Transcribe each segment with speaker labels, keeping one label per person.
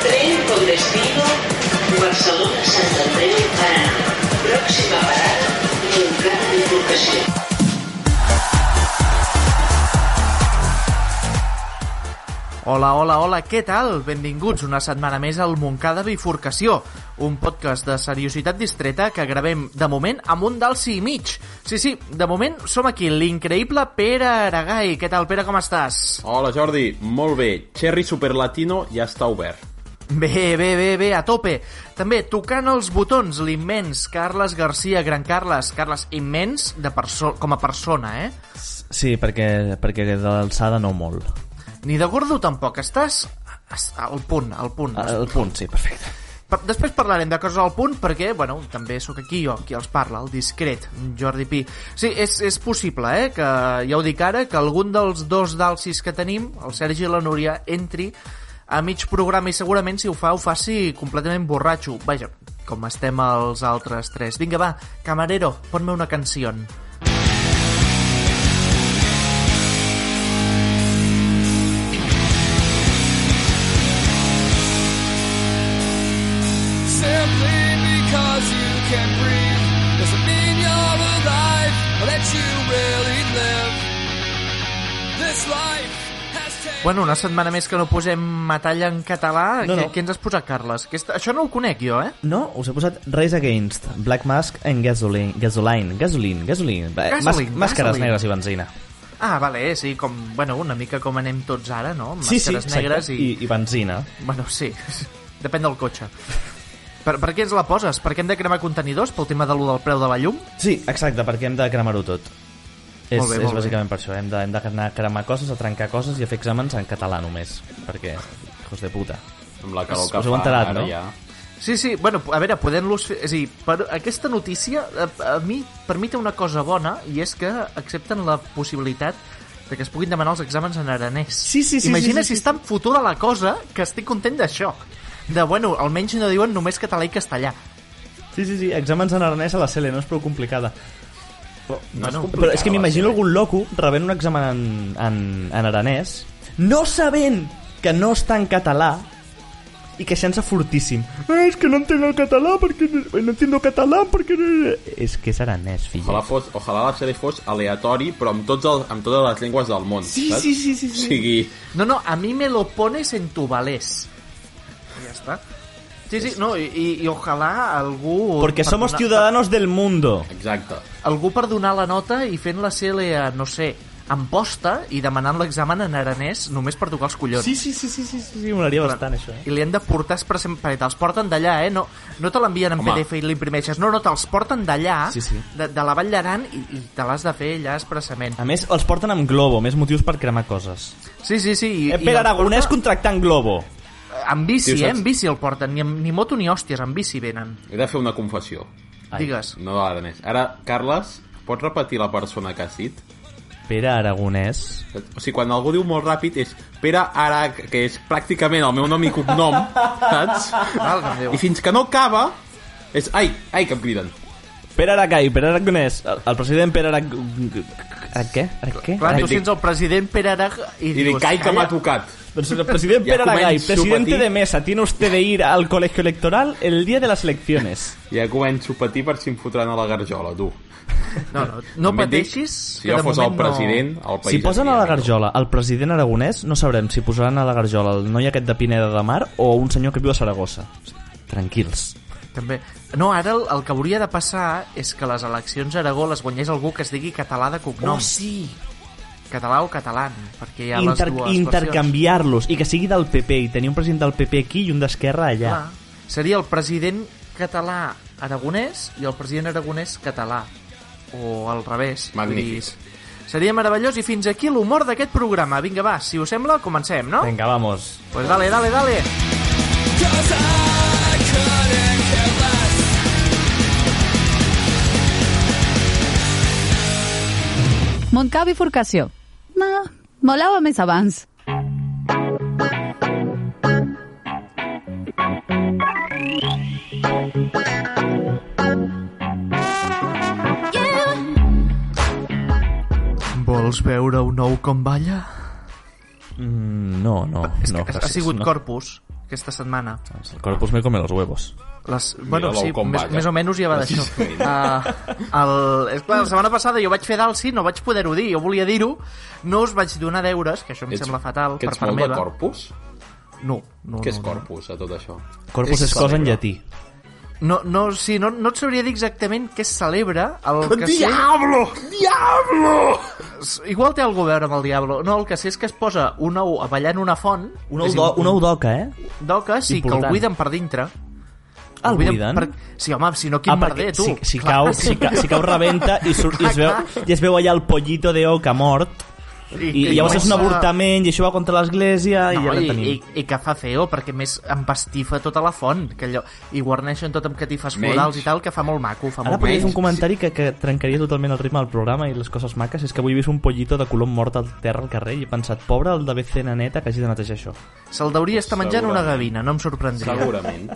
Speaker 1: Tren con destino Barcelona, Santander y Paraná. Próxima parada, Montcada de Educación.
Speaker 2: Hola, hola, hola, què tal? Benvinguts una setmana més al Montcada Bifurcació, un podcast de seriositat distreta que gravem, de moment, amb un dalsi i mig. Sí, sí, de moment som aquí, l'increïble Pere Aragai. Què tal, Pere, com estàs?
Speaker 3: Hola Jordi, molt bé. Cherry Superlatino ja està obert.
Speaker 2: Bé, bé, bé, bé, a tope. També tocant els botons, l'immens Carles Garcia, gran Carles. Carles, immens de perso com a persona, eh?
Speaker 4: Sí, perquè, perquè de l'alçada no molt.
Speaker 2: Ni de gordo tampoc, estàs estàs al punt, al Ah, punt.
Speaker 4: El punt, sí, perfecte.
Speaker 2: Per- Després parlarem de coses al punt perquè, bueno, també sóc aquí jo qui els parla, el discret, en Jordi Pi. Sí, és, és possible, eh, que ja ho dic ara, que algun dels dos dalsis que tenim, el Sergi i la Núria, entri a mig programa i segurament si ho fa ho faci completament borratxo. Vaja, com estem els altres tres. Vinga, va, camarero, ponme una canció.
Speaker 5: Simply because you can breathe doesn't mean you're alive or that you really live. This life has taken.
Speaker 2: Bueno, una setmana més que no posem metall en català.
Speaker 4: No, no.
Speaker 2: Què, què ens has posat, Carles? Aquesta, això no ho conec jo, eh?
Speaker 4: No, us he posat Race Against, Black Mask and Gasoline, Gasoline, Gasoline, Gasoline, Va,
Speaker 2: Gasoline,
Speaker 4: mas- màscares
Speaker 2: Gasoline.
Speaker 4: negres i benzina.
Speaker 2: Ah, vale, sí, com, bueno, una mica com anem tots ara, no? Amb màscares
Speaker 4: exacte.
Speaker 2: negres i...
Speaker 4: I, I benzina.
Speaker 2: Bueno, sí, depèn del cotxe. Per, per què ens la poses? Perquè hem de cremar contenidors pel tema de lo del preu de la llum?
Speaker 4: Sí, exacte, perquè hem de cremar-ho tot. És,
Speaker 2: Molt bé,
Speaker 4: és
Speaker 2: molt bé.
Speaker 4: bàsicament per això, hem de, hem d'anar a cremar coses, a trencar coses i a fer exàmens en català només, perquè, hijos de puta.
Speaker 3: Amb la calor
Speaker 4: Us-
Speaker 3: que fa
Speaker 4: us heu enterat,
Speaker 3: ara
Speaker 4: no?
Speaker 3: ja.
Speaker 2: Sí, sí, bueno, a veure, podem-los fer... És a dir, per aquesta notícia, a, a mi, per mi té una cosa bona, i és que accepten la possibilitat de que es puguin demanar els exàmens en aranès.
Speaker 4: Sí, sí, sí,
Speaker 2: Imagina
Speaker 4: sí, sí,
Speaker 2: si és tan fotuda la cosa que estic content d'això. De, bueno, almenys no diuen només català i castellà.
Speaker 4: Sí, sí, sí, exàmens en aranès a la CL, no és prou complicada.
Speaker 2: No, bueno,
Speaker 4: Però és eh? que m'imagino algun loco rebent un examen en, en, en aranès, no sabent que no està en català i queixant-se fortíssim. Eh, és que no entenc el català perquè... No entiendo català perquè... És que és aranès, filla.
Speaker 3: Ojalà, fos, ojalà la sèrie fos aleatori, però amb, tots els, amb totes les llengües del món.
Speaker 4: Sí,
Speaker 3: saps?
Speaker 4: sí, sí, sí, sí.
Speaker 3: O sigui,
Speaker 2: No, no, a mí me lo pones en tu valés. I Ja està. Sí, sí, no, i, i, i ojalà algú...
Speaker 4: Porque
Speaker 2: per
Speaker 4: somos
Speaker 2: donar-
Speaker 4: ciudadanos del mundo.
Speaker 3: exacte.
Speaker 2: Algú per donar la nota i fent la CL a, no sé, en posta i demanant l'examen en aranès només per tocar els collons.
Speaker 4: Sí, sí, sí, sí, sí, sí, sí molaria bastant, això, eh?
Speaker 2: I li han de portar expressament... Perquè te'ls porten d'allà, eh? No, no te l'envien en
Speaker 3: Home.
Speaker 2: PDF i l'imprimeixes. No, no, te'ls porten d'allà,
Speaker 4: Sí, sí.
Speaker 2: de, de la Vall d'Aran, i, i te l'has de fer allà expressament.
Speaker 4: A més, els porten amb globo, més motius per cremar coses.
Speaker 2: Sí, sí, sí. I, i
Speaker 4: Eh,
Speaker 2: el
Speaker 4: Pere Aragonès
Speaker 2: porta-
Speaker 4: contractant globo.
Speaker 2: Amb bici,
Speaker 3: Tio,
Speaker 2: eh?
Speaker 3: saps?
Speaker 2: Amb bici el porten. Ni, amb, ni moto ni hòsties, amb bici venen.
Speaker 3: He de fer una confessió.
Speaker 4: Ai.
Speaker 2: Digues.
Speaker 3: No de l'aranès. Ara, Carles, pots repetir la persona que has dit?
Speaker 4: Pere Aragonès...
Speaker 3: O sigui, quan algú diu molt ràpid és Pere Arac, que és pràcticament el meu nom i cognom, saps?
Speaker 2: Valga'm Déu.
Speaker 3: I fins que no acaba, és... Ai, ai, que em criden.
Speaker 4: Pere Aracai, Pere Aragonès, el, el president Pere Arac... Ara què? Ara què?
Speaker 2: Clar, tu
Speaker 3: dic-
Speaker 2: sents el president Pere Arag i,
Speaker 3: I dic, ai, que m'ha tocat.
Speaker 4: Doncs el president
Speaker 3: Ja
Speaker 4: Pere Aracay,
Speaker 3: començo a
Speaker 4: presidente
Speaker 3: patir.
Speaker 4: de mesa, tiene usted de ir al colegio electoral el día de las elecciones.
Speaker 3: Ja començo a patir per si em fotran a la garjola, tu.
Speaker 2: No, no, no
Speaker 3: També et dic,
Speaker 2: pateixis.
Speaker 3: Si
Speaker 2: que
Speaker 3: jo
Speaker 2: de
Speaker 3: fos el
Speaker 2: moment
Speaker 3: president,
Speaker 2: No...
Speaker 3: el país...
Speaker 4: Si posen a
Speaker 3: aniria
Speaker 4: la
Speaker 3: millor.
Speaker 4: garjola el president aragonès, no sabrem si posaran a la garjola el noi aquest de Pineda de Mar o un senyor que viu a Saragossa. Tranquils.
Speaker 2: També. No, ara el, el que hauria de passar és que les eleccions a Aragó les guanyés algú que es digui català de
Speaker 3: Oh,
Speaker 2: cognom.
Speaker 4: sí!
Speaker 2: Català o catalán, perquè hi ha
Speaker 4: Inter
Speaker 2: les dues
Speaker 4: Intercanviar-los i que sigui del PP i tenir un president del PP aquí i un d'esquerra allà.
Speaker 2: versions. Clar. Seria el president català aragonès i el president aragonès català. O al revés. Vull
Speaker 3: Magnífic.
Speaker 2: dir, Seria meravellós i fins aquí l'humor d'aquest programa. Vinga, va, si us sembla, comencem, no?
Speaker 4: Venga, vamos.
Speaker 2: Pues dale, dale, dale.
Speaker 5: Cause I couldn't care less.
Speaker 6: Montcada bifurcació. Ma, molava més abans.
Speaker 2: Vols veure un nou com balla?
Speaker 4: No, no,
Speaker 2: És
Speaker 4: no.
Speaker 2: que ha, ha
Speaker 4: gràcies,
Speaker 2: sigut
Speaker 4: no.
Speaker 2: Corpus aquesta setmana.
Speaker 4: El corpus me come los huevos.
Speaker 2: Les, bueno,
Speaker 3: l'ou
Speaker 2: sí,
Speaker 3: com
Speaker 2: més,
Speaker 3: balla.
Speaker 2: més o menys ja va d'això. Uh, el, és clar, la setmana passada jo vaig fer d'alci, no vaig poder-ho dir, jo volia dir-ho, no us vaig donar deures, que això em sembla fatal
Speaker 3: que
Speaker 2: per
Speaker 3: ets
Speaker 2: part
Speaker 3: molt de
Speaker 2: meva.
Speaker 3: corpus?
Speaker 2: No, no,
Speaker 3: Què és
Speaker 2: no, no.
Speaker 3: corpus, a tot això?
Speaker 4: Corpus és,
Speaker 2: És
Speaker 4: cosa en llatí.
Speaker 2: No, no, sí, no, no et sabria dir exactament què es celebra. El que sé,
Speaker 3: Diablo! Diablo!
Speaker 2: igual té alguna cosa a veure amb el Diablo. No, el que sé és que es posa un ou a ballar en una font.
Speaker 4: Un
Speaker 2: és a
Speaker 4: ou,
Speaker 2: dir,
Speaker 4: do, un ou d'oca, eh?
Speaker 2: d'oca, sí, que
Speaker 4: Important.
Speaker 2: el buiden per dintre.
Speaker 4: Ah, el buiden?
Speaker 2: Sí, home, si no, quin ah, merder, tu.
Speaker 4: si, si,
Speaker 2: Clar,
Speaker 4: cau, si, ca, si cau rebenta i, surt, i, es veu, i es veu allà el pollito d'oca mort i,
Speaker 2: que
Speaker 4: i llavors és un
Speaker 2: comença-
Speaker 4: avortament i això va contra l'església
Speaker 2: eh,
Speaker 4: i
Speaker 2: No,
Speaker 4: ja
Speaker 2: i,
Speaker 4: la tenim.
Speaker 2: i, i que fa feo, perquè a més empastifa tota la font, que allò, i guarneixen tot amb catifes florals i tal, que fa molt maco, fa
Speaker 4: Ara
Speaker 2: molt
Speaker 4: podria fer un
Speaker 2: maco.
Speaker 4: comentari que, que trencaria totalment el ritme del programa i les coses maques. És que avui he vist un pollito de color mort al terra al carrer i he pensat, pobre el d'haver fet neta que hagi de netejar això.
Speaker 2: Se'l deuria estar menjant una gavina, no em sorprendria.
Speaker 3: Segurament.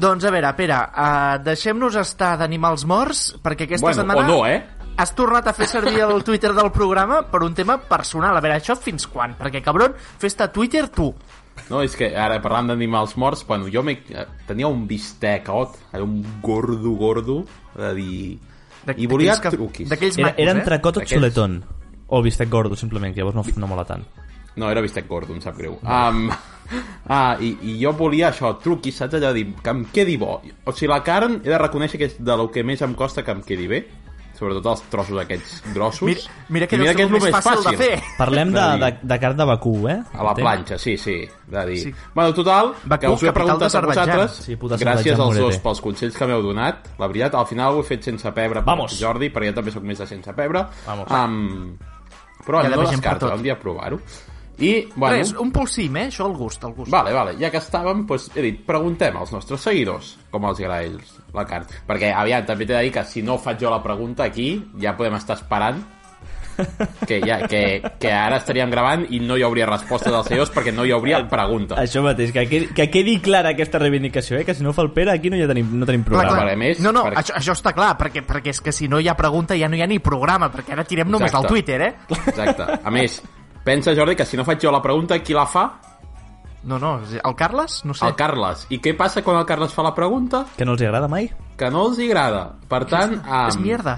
Speaker 2: Doncs a veure, Pere, uh, deixem-nos estar d'animals morts, perquè aquesta
Speaker 3: Bueno,
Speaker 2: setmana...
Speaker 3: o no, eh?
Speaker 2: Has tornat a fer servir el Twitter del programa per un tema personal. A veure, això fins quan? Perquè, cabron, fes-te a Twitter tu.
Speaker 3: No, és que ara parlant d'animals morts, bueno, jo me... eh, tenia un bistecot, era un gordo, gordo, de dir...
Speaker 2: De-
Speaker 3: I volia
Speaker 2: d'aquells que-
Speaker 3: truquis.
Speaker 2: D'aquells
Speaker 4: Era,
Speaker 2: macos,
Speaker 4: era
Speaker 2: eh?
Speaker 4: entrecot o
Speaker 3: D'aquests.
Speaker 4: xuletón. O bistec gordo, simplement, que llavors no, no mola tant.
Speaker 3: No, era bistec gordo, em sap greu. Um, ah, i, i jo volia això, truquis, saps allò de dir, que em quedi bo. O sigui, la carn he de reconèixer que és de lo que més em costa que em quedi bé, sobretot els trossos aquests grossos.
Speaker 2: Mira, mira que
Speaker 3: I
Speaker 2: deu ser el
Speaker 3: lo
Speaker 2: més, fàcil, de fer.
Speaker 4: Parlem de,
Speaker 3: Vull
Speaker 4: de,
Speaker 3: dir-
Speaker 4: de carn de Bakú, eh?
Speaker 3: A la
Speaker 4: Entenc?
Speaker 3: planxa, sí, sí. De dir.
Speaker 2: Sí.
Speaker 3: Sí. Bueno, total,
Speaker 2: Bakú,
Speaker 3: que us ho he
Speaker 2: capital
Speaker 3: preguntat a
Speaker 2: d'Azerbaidjan.
Speaker 3: vosaltres.
Speaker 4: Sí, puta
Speaker 3: gràcies
Speaker 4: Azerbaidjan,
Speaker 3: als dos
Speaker 4: morete.
Speaker 3: pels consells que m'heu donat. La veritat, al final ho he fet sense pebre per
Speaker 4: Vamos.
Speaker 3: Jordi, perquè jo també sóc més de sense pebre.
Speaker 4: Vamos.
Speaker 3: Um, però
Speaker 2: Ja la
Speaker 3: no
Speaker 2: vegem per
Speaker 3: descarto,
Speaker 2: tot.
Speaker 3: un dia provar-ho. I, bueno,
Speaker 2: Res, un polsim, eh? Això al gust, al gust.
Speaker 3: Vale, vale, ja que estàvem, doncs, he dit, preguntem als nostres seguidors com els agrada a ells la carn. Perquè, aviam, també t'he de dir que si no faig jo la pregunta aquí, ja podem estar esperant que, ja, que, que ara estaríem gravant i no hi hauria resposta dels seguidors perquè no hi hauria pregunta.
Speaker 4: Això mateix, que quedi, que quedi clara aquesta reivindicació, eh? Que si no ho fa el Pere, aquí no, ja tenim, no tenim programa.
Speaker 3: Clar, vale, més,
Speaker 2: no, no,
Speaker 3: perquè-
Speaker 2: això, això està clar, perquè, perquè és que si no hi ha pregunta ja no hi ha ni programa, perquè ara tirem només
Speaker 3: Exacte.
Speaker 2: al Twitter, eh?
Speaker 3: Exacte. A més, pensa, Jordi, que si no faig jo la pregunta, qui la fa?
Speaker 2: No, no, el Carles? No sé.
Speaker 3: El Carles. I què passa quan el Carles fa la pregunta?
Speaker 4: Que no els agrada mai?
Speaker 3: Que no els hi agrada. Per tant...
Speaker 2: és
Speaker 3: am,
Speaker 2: mierda.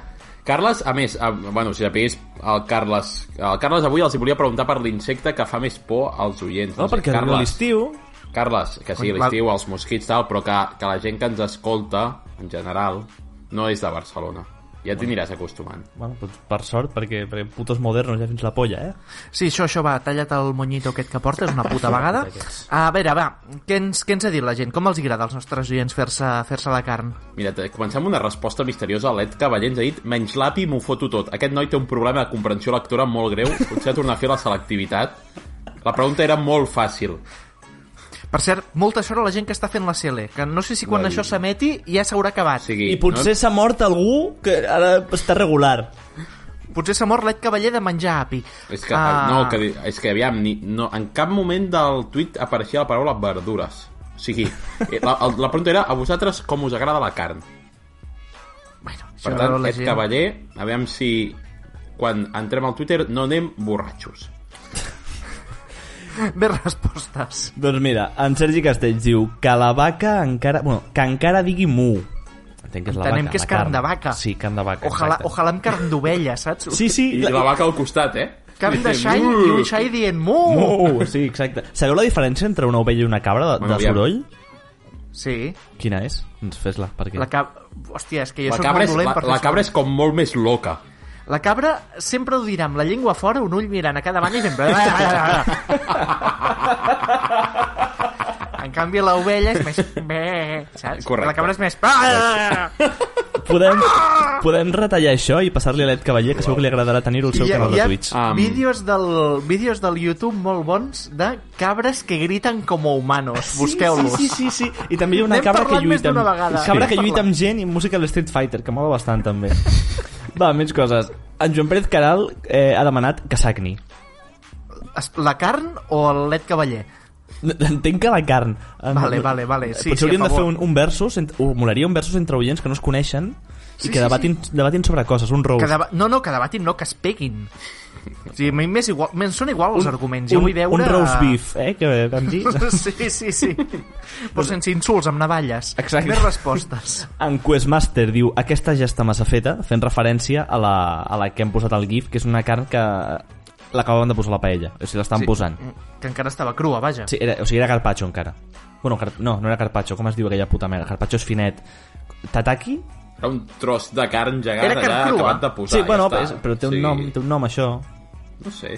Speaker 3: Carles, a més, a, bueno, si sapiguis, el Carles... El Carles avui els hi volia preguntar per l'insecte que fa més por als oients.
Speaker 4: No,
Speaker 3: sé,
Speaker 4: perquè arriba l'estiu...
Speaker 3: Carles, que sí,
Speaker 2: Ui,
Speaker 3: l'estiu, els mosquits, tal, però que, que la gent que ens escolta, en general, no és de Barcelona. Ja t'hi aniràs acostumant.
Speaker 4: Bueno, doncs per sort, perquè, perquè putos modernos ja fins la polla, eh?
Speaker 2: Sí, això, això, va, talla't el monyito aquest que portes una puta vegada. A veure, va, què ens, què ens ha dit la gent? Com els agrada als nostres oients fer-se fer la carn?
Speaker 3: Mira, te- comencem amb una resposta misteriosa. L'Ed Cavallé ens ha dit, menys l'api m'ho foto tot. Aquest noi té un problema de comprensió lectora molt greu. Potser ha de tornar a fer la selectivitat. La pregunta era molt fàcil.
Speaker 2: Per cert, molta sort a la gent que està fent la CL, que no sé si quan
Speaker 3: La
Speaker 2: això
Speaker 3: vida.
Speaker 2: s'emeti ja s'haurà acabat.
Speaker 3: O sigui,
Speaker 4: I potser s'ha mort algú que ara està regular.
Speaker 2: Potser s'ha mort l'Ed Cavaller de menjar api.
Speaker 3: És que, ah, no, que, di- és que aviam, ni, no, en cap moment del tuit apareixia la paraula verdures. O sigui, eh, la, el- la pregunta era a vosaltres com us agrada la carn.
Speaker 2: Bueno, això
Speaker 3: Per
Speaker 2: la
Speaker 3: tant, aquest
Speaker 2: gent-
Speaker 3: cavaller, aviam si quan entrem al Twitter no anem borratxos.
Speaker 2: Més respostes.
Speaker 4: Doncs mira, en Sergi Castells diu que la vaca encara... Bueno, que encara digui mu. Entenc que és la
Speaker 2: Entenem
Speaker 4: vaca,
Speaker 2: que és
Speaker 4: la
Speaker 2: carn de vaca.
Speaker 4: Sí, carn de vaca,
Speaker 2: Ojalà,
Speaker 4: exacte.
Speaker 2: ojalà amb carn d'ovella, saps?
Speaker 4: Sí, sí,
Speaker 3: I la vaca al costat, eh?
Speaker 2: Carn de
Speaker 3: Dicem,
Speaker 2: xai
Speaker 3: "Uh!"
Speaker 2: i un xai dient mu!
Speaker 4: Mu, Oh, sí, exacte. Sabeu la diferència entre una ovella i una cabra de,
Speaker 3: Bueno,
Speaker 4: de
Speaker 3: aviam.
Speaker 4: soroll?
Speaker 2: Sí,
Speaker 4: Quina és? Doncs fes-la, perquè...
Speaker 2: la cabra... Hòstia, és que jo
Speaker 3: La
Speaker 2: soc
Speaker 3: cabra,
Speaker 2: molt
Speaker 3: és,
Speaker 2: dolent
Speaker 3: la,
Speaker 2: per fer
Speaker 3: la cabra
Speaker 2: soroll.
Speaker 3: és com molt més loca.
Speaker 2: La cabra sempre ho dirà amb la llengua fora, un ull mirant a cada banda i sempre... en canvi, l'ovella és més... Bé, saps?
Speaker 3: Correcte.
Speaker 2: La cabra és més...
Speaker 4: Podem, Podem retallar això i passar-li a l'Ed Cavaller, que segur que li agradarà tenir-ho al seu
Speaker 2: Hi ha,
Speaker 4: canal
Speaker 2: hi
Speaker 4: de
Speaker 2: ha
Speaker 4: Twitch.
Speaker 3: Ah. Am.
Speaker 2: vídeos, del, vídeos del YouTube molt bons de cabres que griten com a humanos. Busqueu-los.
Speaker 4: Sí, sí, sí, sí. I també hi ha una
Speaker 2: N'hem
Speaker 4: cabra que
Speaker 2: parlat més
Speaker 4: lluita amb...
Speaker 2: d'una vegada.
Speaker 4: Cabra
Speaker 2: Sí.
Speaker 4: que lluita amb gent i música de Street Fighter, que mola bastant, també. Va, menys coses. En Joan Pérez Caral eh, ha demanat que sagni.
Speaker 2: Es- La carn o el led cavaller?
Speaker 4: Entenc que la carn... Eh,
Speaker 2: Vale,
Speaker 4: no-
Speaker 2: vale, vale. Sí,
Speaker 4: Potser
Speaker 2: sí, a
Speaker 4: hauríem de
Speaker 2: favor.
Speaker 4: fer un, un versus... Entre, uh, molaria un versus entre oients que no es coneixen i
Speaker 2: Sí,
Speaker 4: que
Speaker 2: sí,
Speaker 4: debatin, debatin sobre coses, un roast.
Speaker 2: Que deba... No, no, que debatin, no, que es peguin. O sigui, m'és igual, me'n són igual els arguments. Jo
Speaker 4: un,
Speaker 2: vull veure...
Speaker 4: un roast beef, eh, que vam dir.
Speaker 2: Sí, sí, sí. Però sense insults, amb navalles.
Speaker 4: Exacte.
Speaker 2: Més respostes.
Speaker 4: En Questmaster diu aquesta ja està massa feta, fent referència a la, a la que hem posat al GIF, que és una carn que l'acabaven de posar a la paella, o sigui, l'estan sí. posant.
Speaker 2: Que encara estava crua, vaja.
Speaker 4: Sí, era, o sigui, era carpaccio encara. Bueno, car no, no era carpaccio, com es diu aquella puta merda? Carpaccio és finet. Tataki?
Speaker 3: Era un tros de carn gegant
Speaker 2: Era carn
Speaker 3: allà
Speaker 2: crua.
Speaker 3: acabat de posar.
Speaker 4: sí, bueno,
Speaker 3: ja
Speaker 4: però, és,
Speaker 3: està.
Speaker 4: però té, un
Speaker 3: Sí,
Speaker 4: nom, té un nom, això.
Speaker 3: No sé.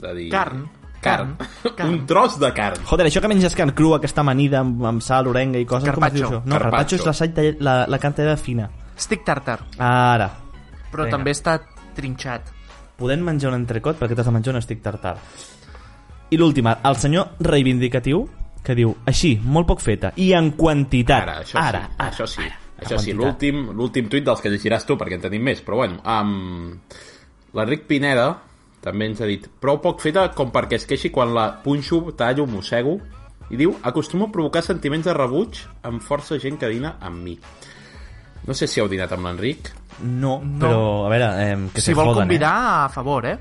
Speaker 3: De dir...
Speaker 2: Carn.
Speaker 3: Carn.
Speaker 2: Carn. Carn.
Speaker 3: Un tros de carn.
Speaker 4: Joder, això que menges carn crua, que està amanida amb, amb sal, orenga i coses... Com es diu
Speaker 2: Carpaccio.
Speaker 4: això? No, carpaccio
Speaker 3: Carpaccio.
Speaker 4: és la, sall tall- la, la carn tallada fina.
Speaker 2: Stick tartar,
Speaker 4: Ara.
Speaker 2: però
Speaker 4: Vinga.
Speaker 2: també està trinxat.
Speaker 4: podent menjar un entrecot perquè t'has de menjar un estic tartar. I l'última, el senyor reivindicatiu, que diu, així, molt poc feta, i en quantitat.
Speaker 3: Ara, això
Speaker 4: ara,
Speaker 3: sí.
Speaker 4: Ara,
Speaker 3: això sí.
Speaker 4: Ara,
Speaker 3: això sí,
Speaker 4: En quantitat.
Speaker 3: l'últim l'últim tuit dels que llegiràs tu, perquè en tenim més, però bueno. Um, L'Enric Pineda també ens ha dit prou poc feta com perquè es queixi quan la punxo, tallo, mossego i diu, acostumo a provocar sentiments de rebuig amb força gent que dina amb mi. No sé si heu dinat amb l'Enric.
Speaker 4: No, però, a veure, eh, que
Speaker 2: Si
Speaker 4: se
Speaker 2: vol
Speaker 4: joden,
Speaker 2: convidar, a favor, eh?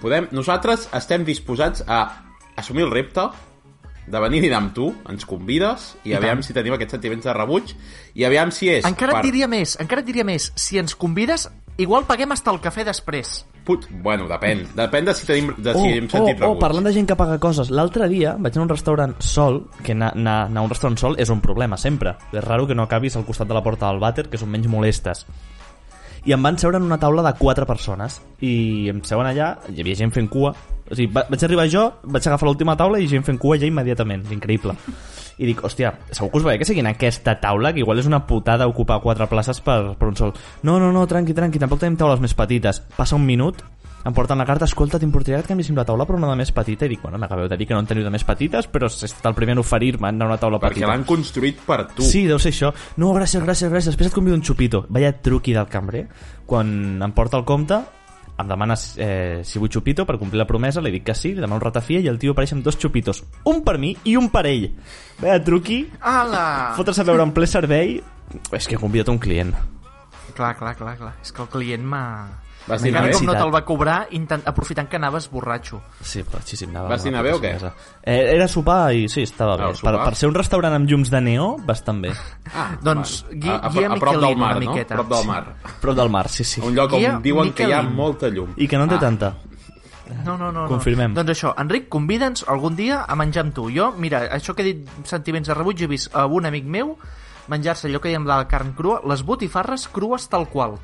Speaker 3: Podem... Nosaltres estem disposats a assumir el repte de venir a dinar amb tu, ens convides, i, aviam si tenim aquests sentiments de rebuig, i aviam si és...
Speaker 2: Encara et diria més, encara et diria més. Si ens convides, igual paguem hasta el cafè després.
Speaker 3: Put... Bueno, depèn. Depèn de si, tenim, de
Speaker 4: Eh?
Speaker 3: si hem sentit
Speaker 4: oh, oh,
Speaker 3: rebuig.
Speaker 4: parlant de gent que paga coses L'altre dia vaig anar a un restaurant sol Que anar, anar, anar a un restaurant sol és un problema, sempre És raro que no acabis al costat de la porta del vàter Que són menys molestes i em van seure en una taula de quatre persones i em seuen allà, hi havia gent fent cua o sigui, va- vaig arribar jo, vaig agafar l'última taula i gent fent cua ja immediatament, increïble i dic, hòstia, segur que us veieu que seguin aquesta taula, que igual és una putada ocupar quatre places per, per un sol no, no, no, tranqui, tranqui, tampoc tenim taules més petites passa un minut, em porten la carta escolta, t'importaria que et canviéssim la taula per una de més petita i dic, bueno, m'acabeu de dir que no en teniu de més petites però he estat el primer en oferir-me anar a una taula
Speaker 3: Perquè
Speaker 4: petita
Speaker 3: l'han construït per tu.
Speaker 4: Sí, deu ser això. No, gràcies, gràcies, gràcies. Després et convido un xupito. Vaya truqui del cambrer. Quan em porta el compte, em demana eh, si vull xupito per complir la promesa, li dic que sí, li demano un ratafia i el tio apareix amb dos xupitos. Un per mi i un per ell. Vaya truqui,
Speaker 2: Ala!
Speaker 4: fotre's a veure en ple servei... És que he convidat un client.
Speaker 2: Clar, clar, clar, clar. És que el client m'ha...
Speaker 3: Vas
Speaker 2: Encara
Speaker 3: dinar bé?
Speaker 2: com no te'l va cobrar, intent... aprofitant que anaves borratxo.
Speaker 4: Sí, però sí, sí, anava...
Speaker 3: Vas dinar bé o què?
Speaker 4: Eh, era sopar i sí, estava
Speaker 3: Ah,
Speaker 4: bé.
Speaker 3: el
Speaker 4: Per,
Speaker 3: sopar?
Speaker 4: per ser un restaurant amb llums de neó, bastant bé.
Speaker 3: Ah,
Speaker 2: Doncs,
Speaker 3: val.
Speaker 2: Gui-
Speaker 3: a, a,
Speaker 2: Guia
Speaker 3: a prop del
Speaker 2: Miquelin,
Speaker 3: mar,
Speaker 2: una
Speaker 3: no?
Speaker 2: miqueta.
Speaker 3: A prop del mar.
Speaker 4: Prop del mar, sí, sí.
Speaker 3: Un Ah. lloc
Speaker 2: Guia
Speaker 3: on diuen que hi ha
Speaker 2: Miquelin.
Speaker 3: molta llum.
Speaker 4: I que no en té tanta.
Speaker 2: No, no, no. no.
Speaker 4: Confirmem.
Speaker 2: Doncs això, Enric, convida'ns algun dia a menjar amb tu. Jo, mira, això que he dit sentiments de rebuig, he vist a un amic meu menjar-se allò que dèiem de la carn crua, les botifarres crues tal qual,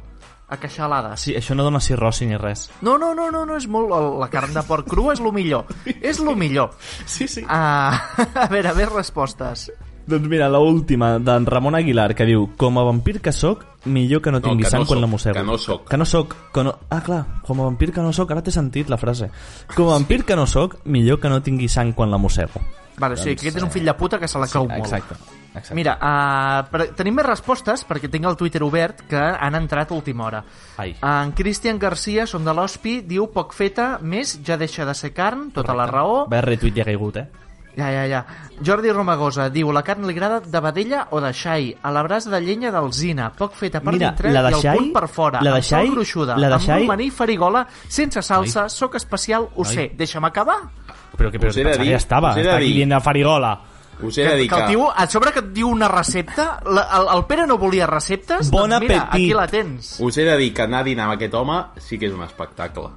Speaker 2: a queixalades.
Speaker 4: Sí, això no dona cirrosi ni res.
Speaker 2: No, no, no, no, no, és molt... La carn de porc crua és lo millor. És lo millor.
Speaker 4: Sí, sí.
Speaker 2: Ah, a veure, més respostes.
Speaker 4: Doncs mira, la última d'en Ramon Aguilar, que diu Com a vampir que sóc, millor que no tingui
Speaker 3: que no
Speaker 4: sang quan
Speaker 3: soc,
Speaker 4: la mossego.
Speaker 3: que no soc.
Speaker 4: Que no soc. Que no... Ah, clar, com a vampir que no sóc, ara t'he sentit la frase. Com a vampir que no sóc, millor que no tingui sang quan la mossego.
Speaker 2: Vale, doncs, o sigui,
Speaker 4: Doncs,
Speaker 2: aquest és un fill de puta que se la cau molt.
Speaker 4: Exacte. exacte.
Speaker 2: Mira, uh, per, tenim més respostes perquè tinc el Twitter obert que han entrat a última hora.
Speaker 4: Ai.
Speaker 2: En Cristian Garcia, som de l'Hospi, diu poc feta, més ja deixa de ser carn, tota la raó.
Speaker 4: Va, retuit ja ha caigut, eh?
Speaker 2: Ja, ja, ja. Jordi Romagosa diu la carn li agrada de vedella o de xai, a la brasa de llenya d'alzina, poc feta per
Speaker 4: Mira,
Speaker 2: dintre
Speaker 4: la de
Speaker 2: i el
Speaker 4: xai-
Speaker 2: punt per fora,
Speaker 4: la de
Speaker 2: amb sal
Speaker 4: xai-
Speaker 2: gruixuda,
Speaker 4: la de
Speaker 2: amb
Speaker 4: xai-
Speaker 2: romaní i farigola, sense salsa, soc especial, ho sé. Deixa'm acabar.
Speaker 4: Però que però
Speaker 3: Us he de
Speaker 4: pensava que
Speaker 3: dir-
Speaker 4: ja estava.
Speaker 3: us he de
Speaker 4: Està aquí
Speaker 3: dir-
Speaker 4: dient la farigola.
Speaker 3: Us he de dir
Speaker 2: que el
Speaker 3: que...
Speaker 2: tio, a sobre que et diu una recepta, la, el, el Pere no volia receptes,
Speaker 4: Bon
Speaker 2: doncs mira,
Speaker 4: apetit.
Speaker 2: aquí la tens.
Speaker 3: Us he de dir que anar a dinar amb aquest home sí que és un espectacle.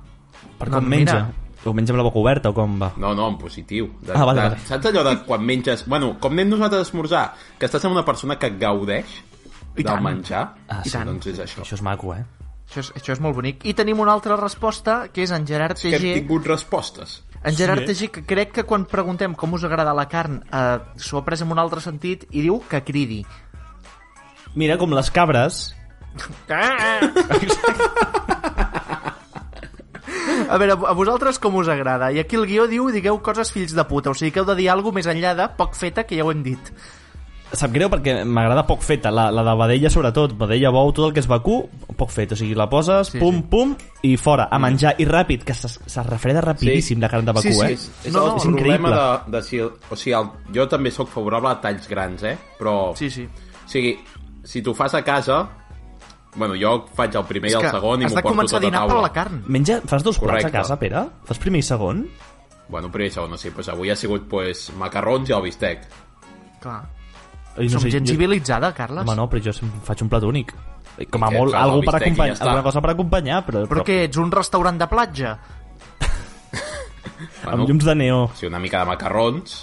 Speaker 4: Per
Speaker 2: No,
Speaker 4: com
Speaker 2: mira.
Speaker 4: menja? Ho menja amb la boca oberta o com va?
Speaker 3: No, no, en positiu. De,
Speaker 4: Ah, vale,
Speaker 3: de,
Speaker 4: vale.
Speaker 3: Saps allò de quan menges... Bueno, com anem nosaltres a esmorzar, que estàs amb una persona que gaudeix
Speaker 2: I
Speaker 3: del
Speaker 2: tant.
Speaker 3: menjar,
Speaker 4: Ah, sí.
Speaker 3: doncs és això.
Speaker 4: Això és maco, eh?
Speaker 2: Això és, això és molt bonic. I tenim una altra resposta, que és en Gerard
Speaker 3: És que hem
Speaker 2: Tegé.
Speaker 3: tingut respostes.
Speaker 2: En Gerard Tegé, que crec que quan preguntem com us agrada la carn, eh, s'ho ha pres en un altre sentit i diu que cridi.
Speaker 4: Mira, com les cabres,
Speaker 2: Ah, A veure, a vosaltres com us agrada? I aquí el guió diu, digueu coses fills de puta, o sigui que heu de dir alguna més enllà de poc feta, que ja ho hem dit.
Speaker 4: Sap greu perquè m'agrada poc feta, la, la de vedella sobretot, vedella, bou, tot el que és vacú, poc fet, o sigui, la poses,
Speaker 2: Sí,
Speaker 4: sí, pum,
Speaker 2: sí.
Speaker 4: sí. pum, i fora, a menjar, i ràpid, que se, se refreda rapidíssim
Speaker 3: Mm. Sí.
Speaker 4: la carn de vacú,
Speaker 2: Sí, sí,
Speaker 4: eh?
Speaker 3: És, és
Speaker 2: No,
Speaker 3: no,
Speaker 2: no,
Speaker 3: el
Speaker 4: és
Speaker 3: problema
Speaker 4: increïble.
Speaker 3: de, de si... el- O sigui, el, jo també sóc favorable a talls grans, eh? Però...
Speaker 2: Sí, sí.
Speaker 3: O sigui, si t'ho fas a casa... Bueno, jo faig el primer i el segon i
Speaker 2: has
Speaker 3: m'ho
Speaker 2: de
Speaker 3: porto
Speaker 2: començar
Speaker 3: tot
Speaker 2: a
Speaker 3: a
Speaker 2: dinar
Speaker 3: taula.
Speaker 2: per la carn.
Speaker 4: eh? Menja, fas dos plats
Speaker 3: Correcte.
Speaker 4: a casa, Pere? Fas primer i segon?
Speaker 3: Bueno, primer i segon, no sé. Pues avui ha sigut pues, macarrons i el bistec.
Speaker 2: Clar.
Speaker 4: Ai,
Speaker 2: Som gent
Speaker 4: jo-
Speaker 2: civilitzada, Carles.
Speaker 4: Home, no, però jo sempre faig un plat únic. Com a
Speaker 3: Què,
Speaker 4: molt,
Speaker 3: clar,
Speaker 4: algú
Speaker 3: el
Speaker 4: per
Speaker 3: bistec i ja
Speaker 4: acompanyar,
Speaker 3: està.
Speaker 4: alguna cosa per acompanyar, però...
Speaker 2: Però què, ets un restaurant de platja?
Speaker 4: Amb llums de neó.
Speaker 3: O sigui, una mica de macarrons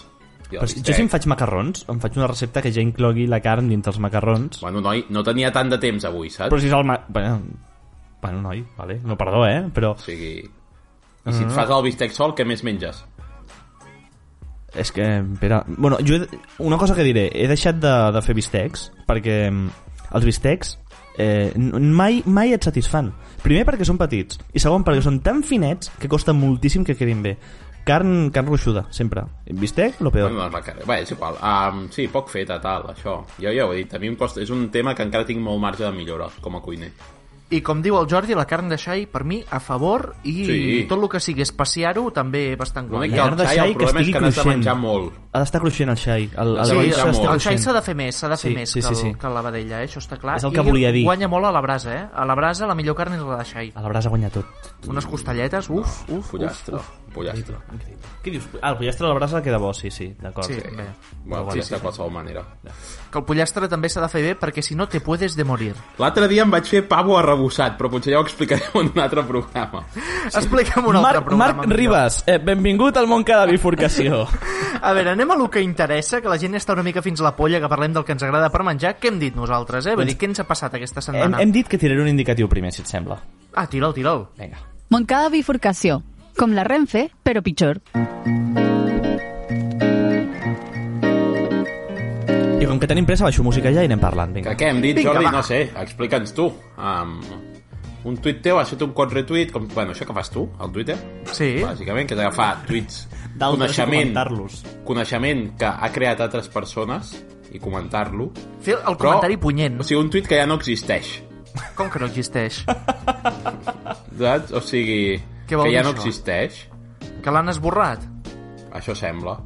Speaker 3: i el
Speaker 4: Però si-
Speaker 3: bistec.
Speaker 4: jo si em faig macarrons, em faig una recepta que ja inclogui la carn dintre els macarrons.
Speaker 3: Bueno, noi, no tenia tant de temps avui, saps?
Speaker 4: Però si és el... Ma... Bueno, bueno, noi, vale. No, perdó, eh? Però
Speaker 3: O sigui... I
Speaker 2: Mm.
Speaker 3: si et fas el bistec sol, què més menges?
Speaker 4: és que... Pere... Bueno, jo he... una cosa que diré. He deixat de, de fer bistecs perquè mm, els bistecs eh, n- mai, mai et satisfan. Primer perquè són petits i segon perquè són tan finets que costa moltíssim que quedin bé. Carn, carn ruixuda, sempre. Bistec, lo peor.
Speaker 3: Bueno, doncs la carn... Bé, és igual. Um, sí, poc feta, tal, això. Jo ja ho he dit, a mi em costa... És un tema que encara tinc molt marge de millora com a cuiner.
Speaker 2: I com diu el Jordi, la carn de xai, per mi, a favor, i
Speaker 3: Sí.
Speaker 2: tot el que sigui espaciar-ho, també bastant guai. eh?
Speaker 3: L'únic que
Speaker 4: La
Speaker 3: el
Speaker 4: carn de
Speaker 3: xai,
Speaker 4: xai
Speaker 3: el
Speaker 4: que
Speaker 3: problema és
Speaker 4: estigui
Speaker 3: que n'has de
Speaker 4: cruixent.
Speaker 3: menjar molt.
Speaker 4: Ha d'estar cruixent el xai. El,
Speaker 3: Sí,
Speaker 4: el, el,
Speaker 2: Sí,
Speaker 3: de
Speaker 4: el,
Speaker 3: menjar
Speaker 2: el,
Speaker 3: molt.
Speaker 2: el xai s'ha de fer més, s'ha de fer
Speaker 4: Sí,
Speaker 2: més
Speaker 4: sí,
Speaker 2: que,
Speaker 4: sí,
Speaker 2: el,
Speaker 4: sí.
Speaker 2: que la vedella, eh? això està clar.
Speaker 4: És el que
Speaker 2: I
Speaker 4: volia dir. Ah,
Speaker 2: guanya molt a la brasa, eh? A la brasa la millor carn és la de xai.
Speaker 4: a l'hauràs de guanyar tot.
Speaker 2: Unes costelletes, uf, uf, uf,
Speaker 3: Pollastre,
Speaker 2: uf.
Speaker 3: pollastre.
Speaker 4: Què dius? Ah, el pollastre a la brasa queda bo, sí, sí, d'acord.
Speaker 2: Sí, bé.
Speaker 3: Bueno,
Speaker 4: Molt
Speaker 3: sí,
Speaker 4: bona,
Speaker 3: és de qualsevol manera.
Speaker 2: Que el pollastre també s'ha de fer bé perquè si no te puedes de morir.
Speaker 3: L'altre dia em vaig fer pavo arrebossat, però potser ja ho explicarem en un altre programa.
Speaker 2: Sí. Explica'm un altre
Speaker 4: Marc,
Speaker 2: programa.
Speaker 4: Marc
Speaker 2: millor.
Speaker 4: Ribas, eh, benvingut al món cada bifurcació.
Speaker 2: A veure, anem a lo que interessa, que la gent està una mica fins la polla, que parlem del que ens agrada per menjar. Què hem dit nosaltres, eh? Vull dir, què ens ha passat aquesta
Speaker 4: hem,
Speaker 2: setmana?
Speaker 4: hem dit que tiraré un indicatiu primer, si et sembla.
Speaker 2: Ah, tira'l, tira'l.
Speaker 4: Vinga.
Speaker 6: Montcada bifurcació. Com la Renfe, però pitjor.
Speaker 4: I com que tenim pressa, baixo música ja i anem parlant.
Speaker 3: Que
Speaker 4: Vinga.
Speaker 3: què hem dit,
Speaker 2: Vinga,
Speaker 3: Jordi?
Speaker 2: va.
Speaker 3: No sé, explica'ns tu. Um, un tuit teu ha fet un cot retuit, com, bueno, això que fas tu, al Twitter,
Speaker 2: Sí.
Speaker 3: bàsicament, que és agafar tuits,
Speaker 4: D'altres i
Speaker 3: coneixement,
Speaker 4: comentar-los.
Speaker 3: coneixement que ha creat altres persones i comentar-lo.
Speaker 2: Fer el comentari punyent.
Speaker 3: O sigui, un tuit que ja no existeix.
Speaker 2: Com que no existeix?
Speaker 3: Saps? O sigui,
Speaker 2: Què vol
Speaker 3: que ja
Speaker 2: dir
Speaker 3: no
Speaker 2: això?
Speaker 3: existeix.
Speaker 2: Que l'han esborrat?
Speaker 3: Això sembla.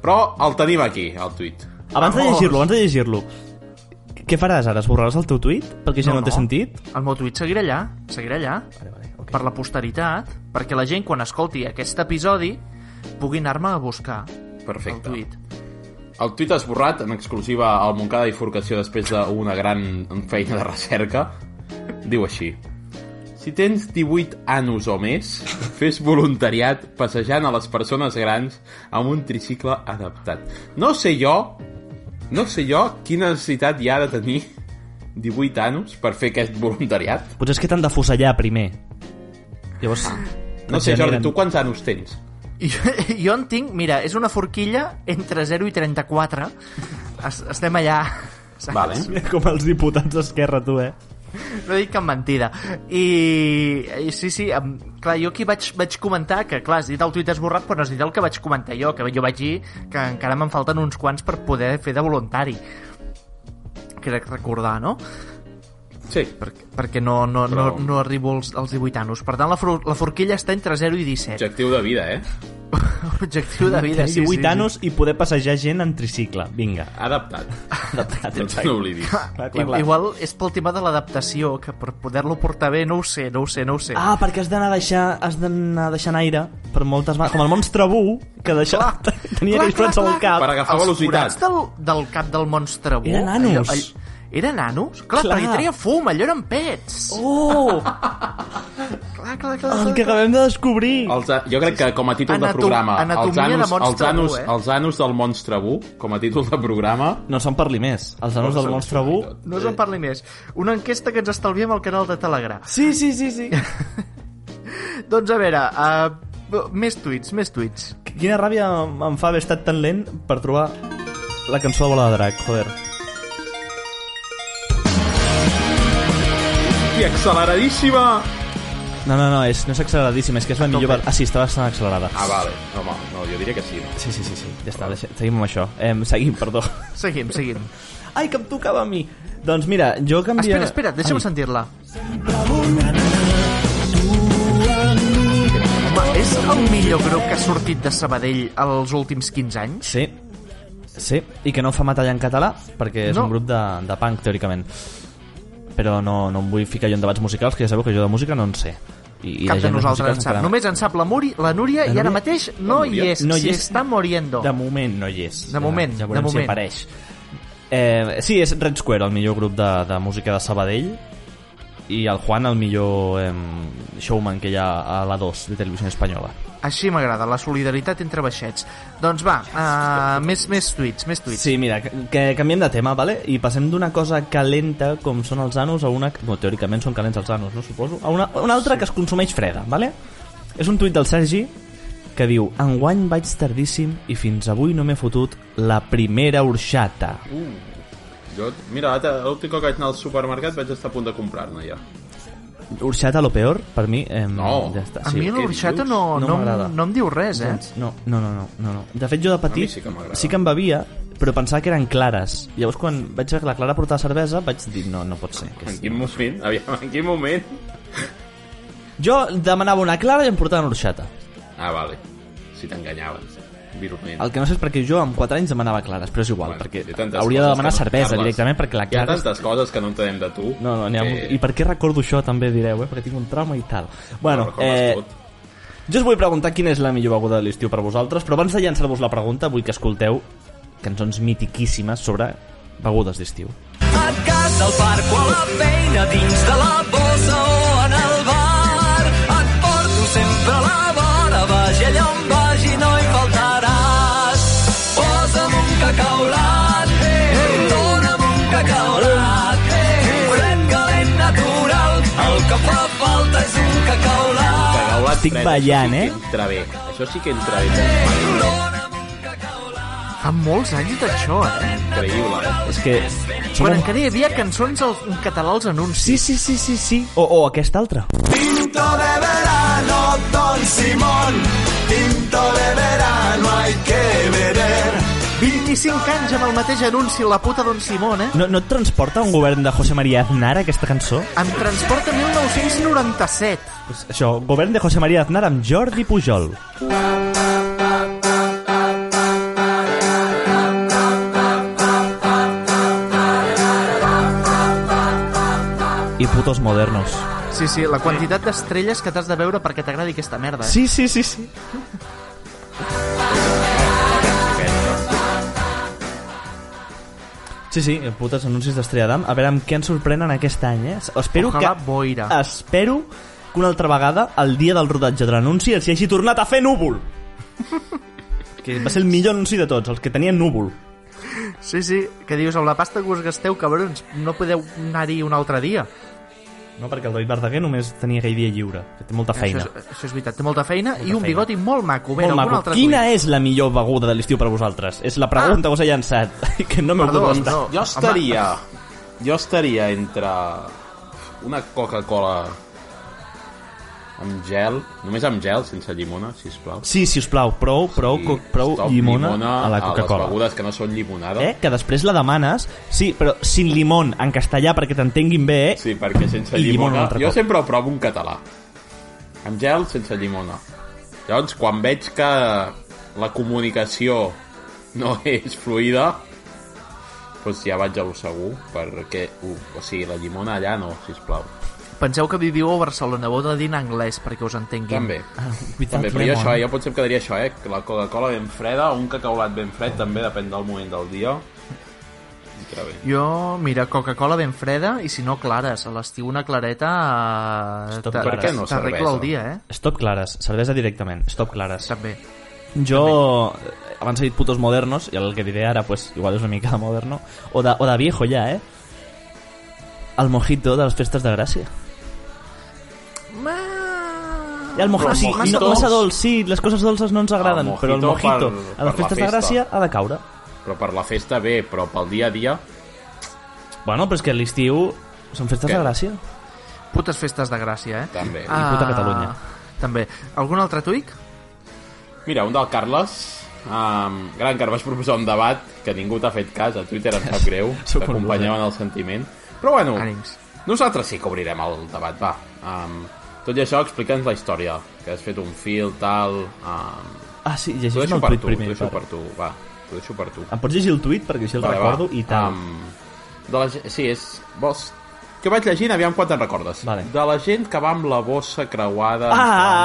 Speaker 3: Però el tenim aquí, el tuit.
Speaker 4: Abans de
Speaker 2: Vamos.
Speaker 4: llegir-lo, abans de llegir-lo, què faràs ara? Esborraràs el teu tuit? Perquè ja no, té sentit?
Speaker 2: El meu tuit seguirà allà, seguirà allà, vale, vale, okay. per la posteritat, perquè la gent, quan escolti aquest episodi, pugui anar-me a buscar el
Speaker 3: Perfecte.
Speaker 2: tuit.
Speaker 3: El tuit esborrat, en exclusiva al Montcada Bifurcació després d'una gran feina de recerca, diu així. Si tens 18 anos o més, fes voluntariat passejant a les persones grans amb un tricicle adaptat. No sé jo, no sé jo quina necessitat hi ha de tenir 18 anos per fer aquest voluntariat.
Speaker 4: Potser és que t'han de fusellar primer. Llavors...
Speaker 3: No sé,
Speaker 4: et
Speaker 3: Jordi,
Speaker 4: generen-
Speaker 3: tu quants anos tens?
Speaker 2: I jo, jo en tinc, mira, és una forquilla entre 0 i 34. Es, estem allà. saps?
Speaker 3: Vale.
Speaker 4: Mira com els diputats d'Esquerra, tu, eh?
Speaker 2: No dic cap mentida. I, i sí, sí, em, clar, jo aquí vaig, vaig comentar que, clar, has dit el tuit esborrat, però no has dit el que vaig comentar jo, que jo vaig dir que encara me'n falten uns quants per poder fer de voluntari. Crec recordar, no?
Speaker 3: Sí.
Speaker 2: Perquè, perquè no, no,
Speaker 3: Però-
Speaker 2: no, no arribo als, als 18 anos. Per tant, la, for, la forquilla està entre 0 i 17.
Speaker 3: Objectiu de vida, eh?
Speaker 2: Objectiu de vida, sí,
Speaker 4: 18
Speaker 2: sí, sí.
Speaker 4: anos i poder passejar gent en tricicle. Vinga.
Speaker 3: Adaptat.
Speaker 4: Adaptat,
Speaker 3: No te n'oblidis.
Speaker 4: Clar, clar, clar.
Speaker 2: Igual és pel tema de l'adaptació, que per poder-lo portar bé, no ho sé, no ho sé, no ho sé.
Speaker 4: Ah, perquè has d'anar a deixar, has d'anar deixant aire per moltes mans, com el monstre bu, que deixava,
Speaker 2: Clar.
Speaker 4: tenia
Speaker 2: Clar,
Speaker 4: aquells plats
Speaker 2: clar,
Speaker 4: al
Speaker 2: clar.
Speaker 4: cap.
Speaker 3: Per agafar
Speaker 2: Els forats
Speaker 3: velocitat.
Speaker 2: del, del cap del monstre bu...
Speaker 4: Eren nanos.
Speaker 2: eren nanos? Clar,
Speaker 4: Clar.
Speaker 2: clar, perquè treia fum, allò eren pets.
Speaker 4: Oh,
Speaker 2: Clar, clar, clar.
Speaker 4: el
Speaker 2: clar.
Speaker 4: que acabem de descobrir.
Speaker 3: Els, a- jo crec que com a títol de
Speaker 2: Anatom-
Speaker 3: programa els
Speaker 2: anatomia de
Speaker 3: anus, els,
Speaker 2: monstre
Speaker 3: anus,
Speaker 2: bu, eh?
Speaker 3: els anus del monstre bu com a títol de programa
Speaker 4: No se'n parli més. Els anons del monstre bu...
Speaker 2: No us en parli més. Una enquesta que ens estalviem al canal de Telegram.
Speaker 4: Sí, sí, sí, sí.
Speaker 2: Doncs a veure, uh, més tuits, més tuits.
Speaker 4: Quina ràbia em fa haver estat tan lent per trobar la cançó de Bola de Drac, joder.
Speaker 3: hòstia, acceleradíssima!
Speaker 4: No, no, no, és, no és acceleradíssima, és que és la millor... ver- Ah, sí, està bastant accelerada.
Speaker 3: Ah, vale. No, home, no, jo diria que sí, no?
Speaker 4: Sí, sí, sí, sí. ja està, deixa, seguim amb això. Eh, seguim, perdó.
Speaker 2: Seguim, seguim.
Speaker 4: Ai, que em tocava a mi. Doncs mira, jo canvia...
Speaker 2: Espera, espera, deixa'm
Speaker 4: Ai.
Speaker 2: sentir-la. Home, és el millor grup que ha sortit de Sabadell els últims 15 anys?
Speaker 4: Sí, sí, i que no fa metall en català, perquè és
Speaker 2: No.
Speaker 4: un grup de, de punk, teòricament. Però no, no em vull ficar jo en debats musicals, que ja sabeu que jo de música no en sé. I, i
Speaker 2: Cap de
Speaker 4: gent
Speaker 2: nosaltres
Speaker 4: musicals
Speaker 2: en sap.
Speaker 4: encara-
Speaker 2: Només en sap la, Muri, la Núria i
Speaker 4: Núria?
Speaker 2: ara mateix no hi és.
Speaker 4: No hi
Speaker 2: S'hi
Speaker 4: és.
Speaker 2: està moriendo.
Speaker 4: De moment no hi és.
Speaker 2: De moment,
Speaker 4: ja, ja veurem
Speaker 2: de
Speaker 4: si
Speaker 2: moment.
Speaker 4: apareix. Eh, sí, és Red Square, el millor grup de, de música de Sabadell, i el Juan, el millor eh, showman que hi ha a la 2 de Televisió Espanyola.
Speaker 2: Així m'agrada, la solidaritat entre baixets. Doncs va, uh, més, més tuits, més tuits.
Speaker 4: Sí, mira, que, que canviem de tema, vale? I passem d'una cosa calenta, com són els anus, a una... No, teòricament són calents els anus, no suposo? A una, a una altra sí. que es consumeix freda, vale? És un tuit del Sergi que diu Enguany vaig tardíssim i fins avui no m'he fotut la primera orxata.
Speaker 3: Jo, mira, l'altre- l'últim cop que vaig anar al supermercat vaig estar a punt de comprar-ne, ja.
Speaker 4: Urxata, lo peor, per mi... Eh,
Speaker 3: No.
Speaker 4: ja està,
Speaker 2: A mi
Speaker 3: què
Speaker 2: la horxata
Speaker 3: dius?
Speaker 2: no,
Speaker 4: No
Speaker 2: no,
Speaker 4: m'agrada.
Speaker 2: no, no em diu res, eh?
Speaker 4: Gens. No, no, no, no, no, no. De fet, jo de petit
Speaker 3: sí que m'agrada.
Speaker 4: sí que em bevia, però pensava que eren clares. Llavors, quan vaig veure que la Clara portava cervesa, vaig dir, no, no pot ser. Que
Speaker 3: En
Speaker 4: és...
Speaker 3: quin moment? Aviam, en quin moment?
Speaker 4: Jo demanava una Clara i em portaven orxata.
Speaker 3: Ah, vale. Si t'enganyaven. Virulent.
Speaker 4: El que no sé és perquè jo amb 4 anys demanava clares, però és igual,
Speaker 3: Bueno,
Speaker 4: perquè
Speaker 3: hi ha tantes
Speaker 4: hauria de
Speaker 3: coses
Speaker 4: demanar
Speaker 3: que no-
Speaker 4: cervesa
Speaker 3: Carles,
Speaker 4: directament, perquè la
Speaker 3: Hi ha
Speaker 4: Clara...
Speaker 3: tantes coses que no entenem de tu.
Speaker 4: No, no, n'hi ha...
Speaker 3: que-
Speaker 4: I per què recordo això també direu, eh? Perquè tinc un trauma i tal. Bueno,
Speaker 3: recordes
Speaker 4: eh,
Speaker 3: tot.
Speaker 4: jo us vull preguntar quina és la millor beguda de l'estiu per vosaltres, però abans de llançar-vos la pregunta vull que escolteu cançons mitiquíssimes sobre begudes d'estiu.
Speaker 5: A casa, al parc o a la feina, dins de la bossa o en el bar. Et porto sempre a la vora, vagi allà on vagi, no hi faltaràs. Posa'm un cacau latte, dona'm un cacau latte. Fred, calent, natural, el que fa falta és un cacau latte.
Speaker 3: Cagaulat
Speaker 4: Estic
Speaker 3: fred,
Speaker 4: ballant,
Speaker 3: això sí
Speaker 4: eh?
Speaker 3: Que entra bé. Això sí que entra bé.
Speaker 2: Fa molts anys d'això, eh?
Speaker 3: Increïble, eh?
Speaker 4: És que...
Speaker 2: Quan
Speaker 4: Som...
Speaker 2: encara hi havia cançons al- en català als anuncis.
Speaker 4: Sí, sí, sí, sí, sí. O, o aquesta altra.
Speaker 5: Tinto de verano, Don Simón. Tinto de verano, hay que beber.
Speaker 2: 25 anys amb el mateix anunci, la puta Don Simón, eh?
Speaker 4: No, no et transporta un govern de José María Aznar, aquesta cançó?
Speaker 2: Em transporta a 1997.
Speaker 4: Pues això, govern de José María Aznar amb Jordi Pujol. I putos modernos.
Speaker 2: Sí, sí, la quantitat d'estrelles que t'has de veure perquè t'agradi aquesta merda. Eh?
Speaker 4: Sí, sí, sí, sí. Sí, sí, putes anuncis d'Estrella d'Am. A veure amb què ens sorprenen aquest any, eh? Espero
Speaker 2: Ojalà
Speaker 4: que...
Speaker 2: boira.
Speaker 4: Espero que una altra vegada, el dia del rodatge de l'anunci, els hi hagi tornat a fer núvol. que va ser el millor anunci de tots, els que tenien núvol.
Speaker 2: Sí, sí, que dius, amb la pasta que us gasteu, cabrons, no podeu anar-hi un altre dia.
Speaker 4: No, perquè el David Verdaguer només tenia aquell dia lliure, que té molta feina.
Speaker 2: Això és, això és veritat, té molta feina i un
Speaker 4: feina.
Speaker 2: bigoti molt maco. Bé,
Speaker 4: Molt
Speaker 2: algun
Speaker 4: maco.
Speaker 2: altre
Speaker 4: Quina
Speaker 2: tuit?
Speaker 4: és la millor beguda de l'estiu per a vosaltres? És la pregunta que us he llançat, que Doncs no m'heu
Speaker 2: Perdó,
Speaker 4: contestat.
Speaker 2: no.
Speaker 3: Jo estaria... Jo estaria entre una Coca-Cola amb gel, només amb gel, sense llimona, sisplau.
Speaker 4: Sí, si us plau, prou, prou,
Speaker 3: I
Speaker 4: co- prou
Speaker 3: stop
Speaker 4: llimona, a la
Speaker 3: A les
Speaker 4: Coca-Cola.
Speaker 3: begudes que no són llimonada.
Speaker 4: Eh? Que després la demanes, sí, però sin limón, en castellà, perquè t'entenguin bé, eh?
Speaker 3: Sí, perquè sense
Speaker 4: I llimona un
Speaker 3: llimona...
Speaker 4: altre
Speaker 3: Jo
Speaker 4: cop.
Speaker 3: sempre ho provo en català. Amb gel, sense llimona. Llavors, quan veig que la comunicació no és fluida, doncs ja vaig a lo segur, perquè... Uh, o sigui, la llimona allà no, sisplau.
Speaker 4: e-
Speaker 2: Penseu que viviu a Barcelona, heu de dir en anglès perquè us entenguin.
Speaker 3: També.
Speaker 4: Ah, Without
Speaker 3: També, però jo,
Speaker 4: lemon.
Speaker 3: això, eh, jo potser em quedaria això, eh? que La Coca-Cola ben freda, un cacaulat ben fred, també depèn del moment del dia. Entra bé.
Speaker 2: Jo, mira, Coca-Cola ben freda i si no, clares. A l'estiu una clareta eh,
Speaker 4: Stop
Speaker 2: t'a-
Speaker 4: clares. Per què
Speaker 3: no
Speaker 2: t'arregla
Speaker 3: cervesa?
Speaker 2: el dia, eh?
Speaker 4: Stop clares, cervesa directament, stop clares.
Speaker 2: També.
Speaker 4: Jo, eh, abans he dit putos modernos, i el que diré ara, pues, igual és una mica de moderno, o de, o de viejo ja, eh? El mojito de les festes de Gràcia. I el mojito,
Speaker 3: Però
Speaker 4: sí,
Speaker 3: mojitos-
Speaker 4: no, massa dolç, sí, les coses dolces no ens agraden,
Speaker 3: El
Speaker 4: però el
Speaker 3: mojito per-
Speaker 4: mojito a les
Speaker 3: per la
Speaker 4: festes de
Speaker 3: festa.
Speaker 4: Gràcia ha de caure.
Speaker 3: Però per la festa bé, però pel dia a dia...
Speaker 4: Bueno, però és que a l'estiu són festes
Speaker 3: Què?
Speaker 4: de Gràcia.
Speaker 2: Putes festes de Gràcia, eh?
Speaker 3: També. I
Speaker 4: puta Catalunya.
Speaker 2: També. Algun altre tuic?
Speaker 3: Mira, un del Carles. Um, gran, que vas proposar un debat que ningú t'ha fet cas, a Twitter em sap greu,
Speaker 4: Sóc un
Speaker 3: t'acompanyeu en el sentiment. Però bueno,
Speaker 2: Ànims.
Speaker 3: nosaltres sí que obrirem el debat, va. Um, tot i això, explica'ns la història, que has fet un fil, tal... Um,
Speaker 4: Ah, sí,
Speaker 3: t'ho
Speaker 4: llegeixo
Speaker 3: deixo
Speaker 4: el
Speaker 3: per
Speaker 4: tuit
Speaker 3: tu, t'ho
Speaker 4: primer.
Speaker 3: deixo
Speaker 4: pare.
Speaker 3: per tu, va. T'ho deixo per tu.
Speaker 4: Em pots llegir el tuit perquè així el
Speaker 3: Vale, va.
Speaker 4: recordo i tal.
Speaker 3: Um, de la, ge- sí, és... Vols... Que vaig llegint, aviam quan te'n recordes.
Speaker 4: Vale.
Speaker 3: De la gent que va amb la bossa creuada...
Speaker 4: Ah,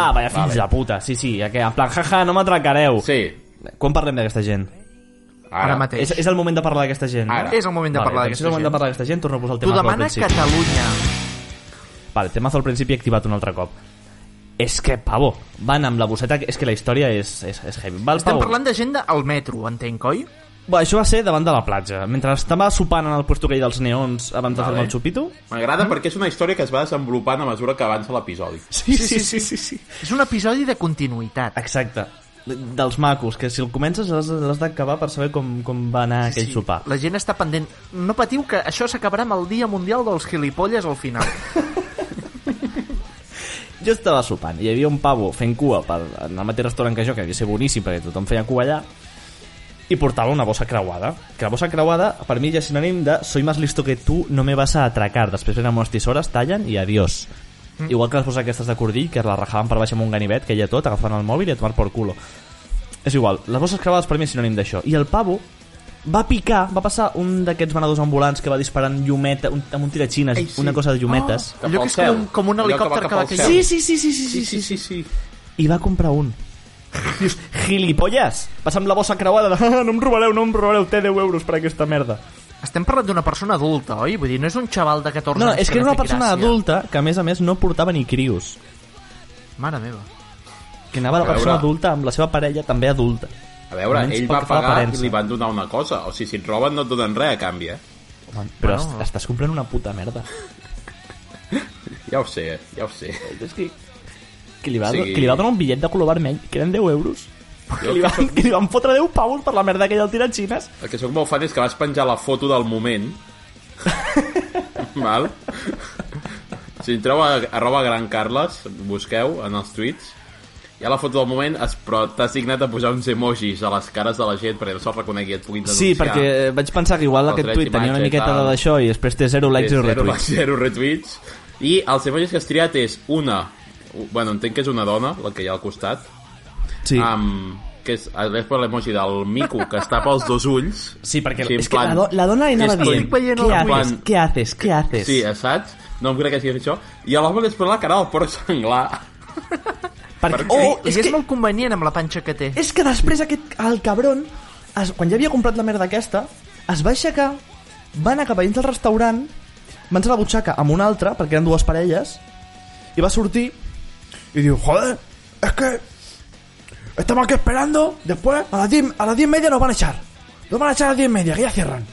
Speaker 4: ah, ah, vaya fills
Speaker 3: Vale.
Speaker 4: de puta. Sí, sí, ja que en plan, jaja, no m'atracareu.
Speaker 3: Sí,
Speaker 4: Quan parlem d'aquesta gent?
Speaker 3: ara.
Speaker 2: Ara mateix.
Speaker 4: És, és el moment de parlar d'aquesta gent.
Speaker 3: Ara.
Speaker 2: És el moment de
Speaker 4: vale,
Speaker 2: parlar
Speaker 4: doncs És
Speaker 2: d'aquesta
Speaker 4: el moment de
Speaker 2: gent.
Speaker 4: parlar d'aquesta gent, torno a posar el
Speaker 2: T'ho
Speaker 4: tema al
Speaker 2: demana
Speaker 4: principi.
Speaker 2: Catalunya.
Speaker 4: Vale, temazo al principi activat un altre cop. És que, pavo, van amb la bosseta... que- És que la història és, és, és heavy. Va, el
Speaker 2: Estem
Speaker 4: pavo.
Speaker 2: parlant de gent del metro, entenc, oi?
Speaker 4: Bé, això va ser davant de la platja. Mentre estava sopant en el puesto aquell dels neons abans de
Speaker 3: Vale.
Speaker 4: fer-me el xupito...
Speaker 3: M'agrada
Speaker 2: Mm-hmm.
Speaker 3: perquè és una història que es va desenvolupant a mesura que avança l'episodi.
Speaker 4: Sí sí sí, sí, sí,
Speaker 2: És un episodi de continuïtat.
Speaker 4: Exacte. De- Dels macos, que si el comences l'has l'has d'acabar per saber com, com va anar aquell sopar.
Speaker 2: La gent està pendent. No patiu que això s'acabarà amb el Dia Mundial dels Gilipolles al final.
Speaker 4: Jo estava sopant i hi havia un pavo fent cua per, en el mateix restaurant que jo, que havia de ser boníssim perquè tothom feia cua allà, i portava una bossa creuada. Que la bossa creuada, per mi, ja és sinònim de soy más listo que tú, no me vas a atracar. Després venen unes tisores, tallen i adiós. Mm. Igual que les bosses aquestes de cordill, que la rajaven per baix amb un ganivet, que hi ha tot, agafant el mòbil i a tomar por culo. És igual, les bosses creuades per mi és sinònim d'això. I el pavo va picar, va passar un d'aquests venedors ambulants que va disparant llumeta, un, amb un tiratxines,
Speaker 3: Ei, sí.
Speaker 4: una cosa de llumetes.
Speaker 3: Cap
Speaker 2: Allò que
Speaker 3: al
Speaker 2: és com un-
Speaker 3: cel.
Speaker 2: com un
Speaker 3: Allò que va
Speaker 2: helicòpter
Speaker 3: cap
Speaker 2: que va
Speaker 3: al
Speaker 2: caient.
Speaker 3: cel.
Speaker 4: Sí, sí, sí, sí, sí, sí, sí, sí,
Speaker 3: sí.
Speaker 4: i va comprar un. Dius, gilipolles, vas amb la bossa creuada de "Ah, no em robareu, no em robareu, té 10 euros per aquesta merda.
Speaker 2: Estem parlant d'una persona adulta, oi? Vull dir, no és un xaval de 14
Speaker 4: No,
Speaker 2: anys
Speaker 4: és que
Speaker 2: no
Speaker 4: era una
Speaker 2: té
Speaker 4: persona
Speaker 2: gràcia.
Speaker 4: adulta que a més a més no portava ni crios.
Speaker 2: Mare meva.
Speaker 4: Que anava la
Speaker 3: A veure.
Speaker 4: persona adulta amb la seva parella també adulta.
Speaker 3: A veure,
Speaker 4: Almenys
Speaker 3: ell
Speaker 4: pel
Speaker 3: va
Speaker 4: que fa
Speaker 3: pagar i
Speaker 4: aparença.
Speaker 3: li van donar una cosa. O sigui, si et roben no et donen res a canvi, eh?
Speaker 4: Home, però
Speaker 2: Bueno.
Speaker 4: est estàs comprant una puta merda.
Speaker 3: Ja ho sé, eh? ja ho sé.
Speaker 4: És que... Que li, va,
Speaker 3: Sí.
Speaker 4: sí. que li va donar un bitllet de color vermell, que eren 10 euros. Que li,
Speaker 3: que
Speaker 4: van,
Speaker 3: sóc-
Speaker 4: que li van fotre 10 pavos per la merda aquella del tiratxines.
Speaker 3: El que sóc molt fan és que vas penjar la foto del moment. Val? Si entreu a arroba Gran Carles, busqueu en els tuits, hi ha la foto del moment, es, però t'has dignat a posar uns emojis a les cares de la gent perquè no se'ls reconegui i et puguin denunciar.
Speaker 4: Sí, perquè eh, vaig pensar que igual
Speaker 3: Els
Speaker 4: aquest
Speaker 3: drets
Speaker 4: tuit tenia una
Speaker 3: d'imatge i
Speaker 4: miqueta
Speaker 3: tal.
Speaker 4: d'això i després té 0 likes i
Speaker 3: zero
Speaker 4: retuits.
Speaker 3: likes, Zero retuits. I els emojis que has triat és una... Bueno, entenc que és una dona, la que hi ha al costat,
Speaker 4: Sí.
Speaker 3: Ah, amb que és després l'emoji del mico que es tapa els dos ulls
Speaker 4: Sí, perquè
Speaker 3: en
Speaker 4: és que
Speaker 3: plan-
Speaker 4: la, do la dona li anava
Speaker 3: Estoy
Speaker 4: dient
Speaker 2: veient
Speaker 4: ¿Qué
Speaker 2: el
Speaker 4: haces?
Speaker 3: plan-
Speaker 4: ¿Qué haces? ¿Qué haces?
Speaker 3: Sí, eh, saps? No em crec que sigui això. I a l'home li espera la cara del porc senglar.
Speaker 4: perquè,
Speaker 3: perquè-
Speaker 4: oh,
Speaker 2: I
Speaker 4: és,
Speaker 2: és,
Speaker 4: que,
Speaker 2: molt convenient amb la panxa que té.
Speaker 4: és que després aquest, el cabron es, quan ja havia comprat la merda aquesta es va aixecar va anar cap a dins del restaurant mans a la butxaca amb una altra perquè eren dues parelles i va sortir i diu joder, es que estamos aquí esperando después a las 10, a las 10 y media nos van a echar nos van a echar a las 10 y media que ya cierran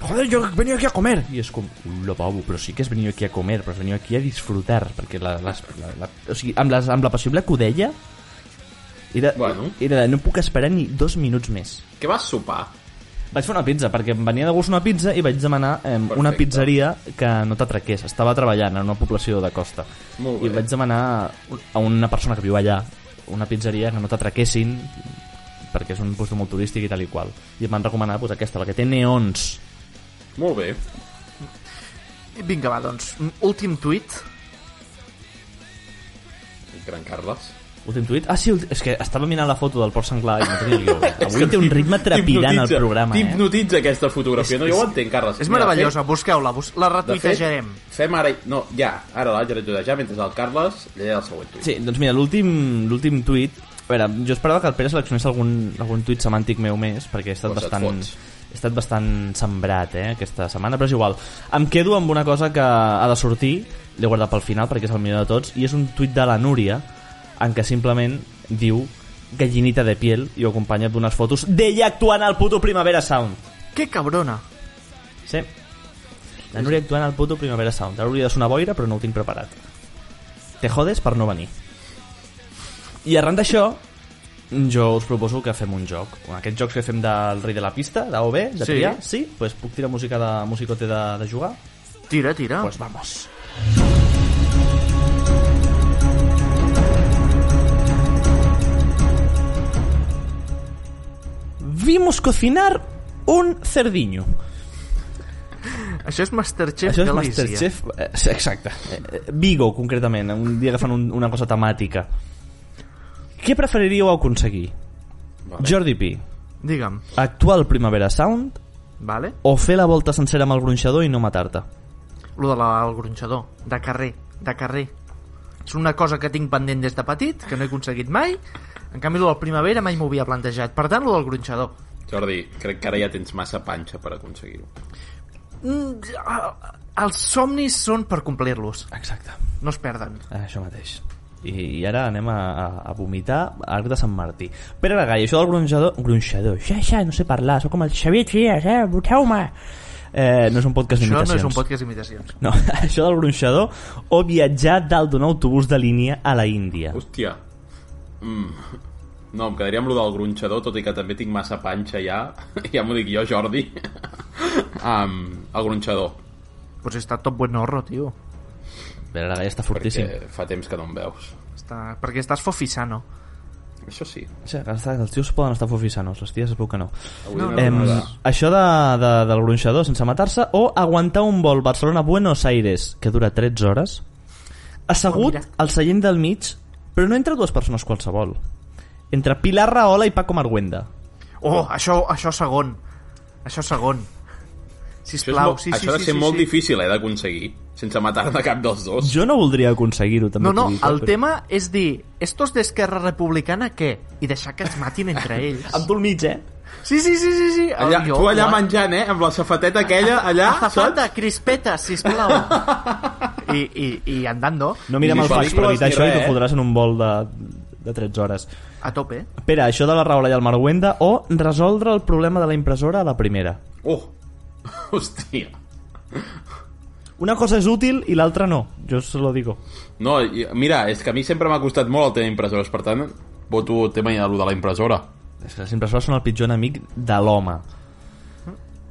Speaker 4: Joder, yo he venido aquí a comer. Y es como, lo pavo, però sí que has venido aquí a comer, però has venido aquí a disfrutar, perquè la, les, la, la, o sigui, amb, les, amb la possible que ho deia, era,
Speaker 3: Bueno.
Speaker 4: era, no puc esperar ni dos minuts més.
Speaker 3: Què vas sopar?
Speaker 4: Vaig fer una pizza, perquè em venia de gust una pizza i vaig demanar eh, una
Speaker 3: Perfecte.
Speaker 4: pizzeria que no t'atraqués. Estava treballant en una població de costa.
Speaker 3: Molt
Speaker 4: I
Speaker 3: bé.
Speaker 4: vaig demanar a una persona que viu allà una pizzeria que no t'atraquessin perquè és un lloc molt turístic i tal i qual. I em van recomanar pues, aquesta, la que té neons.
Speaker 3: Molt bé.
Speaker 2: Vinga, va, doncs,
Speaker 4: Eh.
Speaker 2: m- últim tuit.
Speaker 3: Gran Carles.
Speaker 4: Últim tuit? Ah, sí, ulti- és que estava mirant la foto del Port Sanglar i no tenia el guió. Avui té un ritme trepidant al
Speaker 3: T'hipnotitza-
Speaker 4: programa, eh?
Speaker 3: T'hipnotitza aquesta fotografia. no, jo ho entenc, Carles.
Speaker 2: És
Speaker 3: Mira,
Speaker 2: meravellosa, busqueu-la, bus la
Speaker 3: fem- De fet,
Speaker 2: retuitejarem.
Speaker 3: fem ara... No, ja, ara l'haig d'ajudar ja, mentre el Carles llegeix el següent tuit.
Speaker 4: Sí, doncs mira, l'últim l'últim tuit... A veure, jo esperava que el Pere seleccionés algun, algun tuit semàntic meu més, perquè he estat
Speaker 3: Pues et
Speaker 4: bastant...
Speaker 3: fots.
Speaker 4: He estat bastant sembrat, eh, aquesta setmana, però és igual. Em quedo amb una cosa que ha de sortir, l'he guardat pel final perquè és el millor de tots, i és un tuit de la Núria, en què simplement diu gallinita de piel i ho acompanya d'unes fotos d'ella actuant al puto Primavera Sound.
Speaker 2: Que cabrona.
Speaker 4: Sí. La Núria actuant al puto Primavera Sound. Ara hauria de sonar boira, però no ho tinc preparat. Te jodes per no venir. I arran d'això, jo us proposo que fem un joc. Aquests jocs que fem del rei de la pista, d'AOB, de
Speaker 2: Sí.
Speaker 4: triar, sí? Pues puc tirar música de musicote de, de jugar?
Speaker 2: Tira, tira.
Speaker 4: Pues vamos. vimos cocinar un cerdiño.
Speaker 2: Això és Masterchef
Speaker 4: Això és
Speaker 2: Galícia.
Speaker 4: Masterchef... eh, sí, Exacte. Eh, eh, Vigo, concretament, un dia que fan un, una cosa temàtica. Què preferiríeu aconseguir? Jordi Pi,
Speaker 2: Digue'm,
Speaker 4: actual Primavera Sound
Speaker 2: vale?
Speaker 4: o fer la volta sencera amb el gronxador i no matar-te?
Speaker 2: Lo del de gronxador, de carrer, de carrer. És una cosa que tinc pendent des de petit, que no he aconseguit mai. En canvi, lo del primavera mai m'ho havia plantejat. Per tant, lo del gronxador.
Speaker 3: Jordi, crec que ara ja tens massa panxa per aconseguir-ho.
Speaker 2: Mm, ah, els somnis són per complir-los,
Speaker 4: Exacte.
Speaker 2: no es perden.
Speaker 4: Eh, Això mateix. I, i ara anem a, a, a vomitar a Arc de Sant Martí. Pere Lagai, això del gronxador... Gronxador, ja, ja, no sé parlar, sóc com el Xavier Trias, eh, voteu-me! Eh, no és un podcast
Speaker 2: Això
Speaker 4: d'imitacions.
Speaker 2: no és un podcast d'imitacions.
Speaker 4: No, això del gronxador o viatjar dalt d'un autobús de línia a la Índia.
Speaker 3: Hòstia. Mm. No, em quedaria amb lo del gronxador, tot i que també tinc massa panxa ja. Ja m'ho dic jo, Jordi. um, el gronxador.
Speaker 2: Pues està top buen horro, tio.
Speaker 4: Però ara ja està fortíssim. Perquè...
Speaker 3: Perquè fa temps que no em veus.
Speaker 2: Està... Perquè estàs fofisano.
Speaker 3: Això sí.
Speaker 4: Sí, està, els tios poden estar fofisanos, les ties es veu que no.
Speaker 3: Avui no,
Speaker 4: Em, això de, de, del gronxador sense matar-se o aguantar un vol Barcelona-Buenos Aires que dura 13 hores assegut
Speaker 2: Oh, mira.
Speaker 4: al seient del mig però no entre dues persones qualsevol entre Pilar Rahola i Paco Marguenda
Speaker 2: Oh, això, això segon. Això segon.
Speaker 3: Això, és
Speaker 2: Sisplau,
Speaker 3: molt,
Speaker 2: sí, sí,
Speaker 3: això ha de
Speaker 2: sí,
Speaker 3: ser
Speaker 2: sí,
Speaker 3: molt
Speaker 2: sí.
Speaker 3: difícil, eh, d'aconseguir. Sense matar-ne cap dels dos.
Speaker 4: jo no voldria aconseguir-ho també
Speaker 2: No, no,
Speaker 4: t'ho dic, eh,
Speaker 2: el
Speaker 4: però-
Speaker 2: tema és dir, estos d'Esquerra Republicana, què? I deixar que es matin entre ells.
Speaker 4: amb tu al mig, eh?
Speaker 2: Sí, sí, sí, sí, sí.
Speaker 3: Allà,
Speaker 2: Jo,
Speaker 3: tu allà
Speaker 2: la-
Speaker 3: menjant, eh? Amb la safateta aquella, allà, saps?
Speaker 2: Azafata, crispeta, sisplau. I, i, i andando,
Speaker 4: no mirem
Speaker 3: Ni
Speaker 4: el fax per
Speaker 3: pel·lícules
Speaker 4: evitar
Speaker 3: ni
Speaker 4: això i
Speaker 3: res,
Speaker 4: t'ho
Speaker 3: eh?
Speaker 4: fotràs en un vol de, de 13 hores
Speaker 2: a tope.
Speaker 4: Pere, això de la Rahola i el Marguenda o resoldre el problema de la impressora a la primera
Speaker 3: Oh! Hòstia.
Speaker 4: una cosa és útil i l'altra no jo se lo digo
Speaker 3: No, i- mira, és que a mi sempre m'ha costat molt el tema impressores, per tant, voto el tema de lo de la impressora.
Speaker 4: És que les impressores són el pitjor enemic de l'home.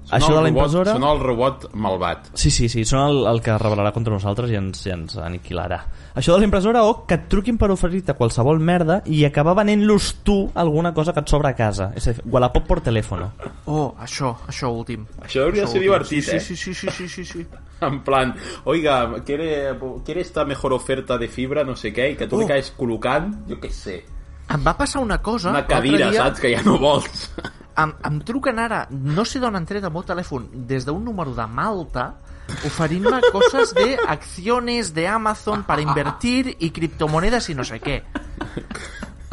Speaker 4: Això
Speaker 3: el
Speaker 4: de
Speaker 3: robot-
Speaker 4: la impressora...
Speaker 3: Són el robot malvat.
Speaker 4: Sí, sí, sí, són el, el que es rebel·larà contra nosaltres i ens, i ens aniquilarà. Això de la impressora o que et truquin per oferir-te qualsevol merda i acabar venent-los tu alguna cosa que et sobra a casa. És a dir, Wallapop por teléfono.
Speaker 2: Oh, això, això últim.
Speaker 3: Això hauria de ser
Speaker 2: últim.
Speaker 3: divertit,
Speaker 2: sí,
Speaker 3: eh?
Speaker 2: Sí, sí, sí, sí, sí, sí.
Speaker 3: En plan, oiga, ¿quiere, quiere esta mejor oferta de fibra, no sé què, i que tu li
Speaker 2: Oh.
Speaker 3: caes col·locant, jo què sé,
Speaker 2: Em va passar una
Speaker 4: Ah,
Speaker 2: cosa...
Speaker 3: una
Speaker 2: l'altre
Speaker 3: cadira,
Speaker 2: dia,
Speaker 3: saps, que ja no vols.
Speaker 2: Em, em truquen ara, no sé d'on han tret el meu telèfon, des d'un número de Malta, oferint-me coses de acciones de Amazon para invertir i criptomonedas i no sé què.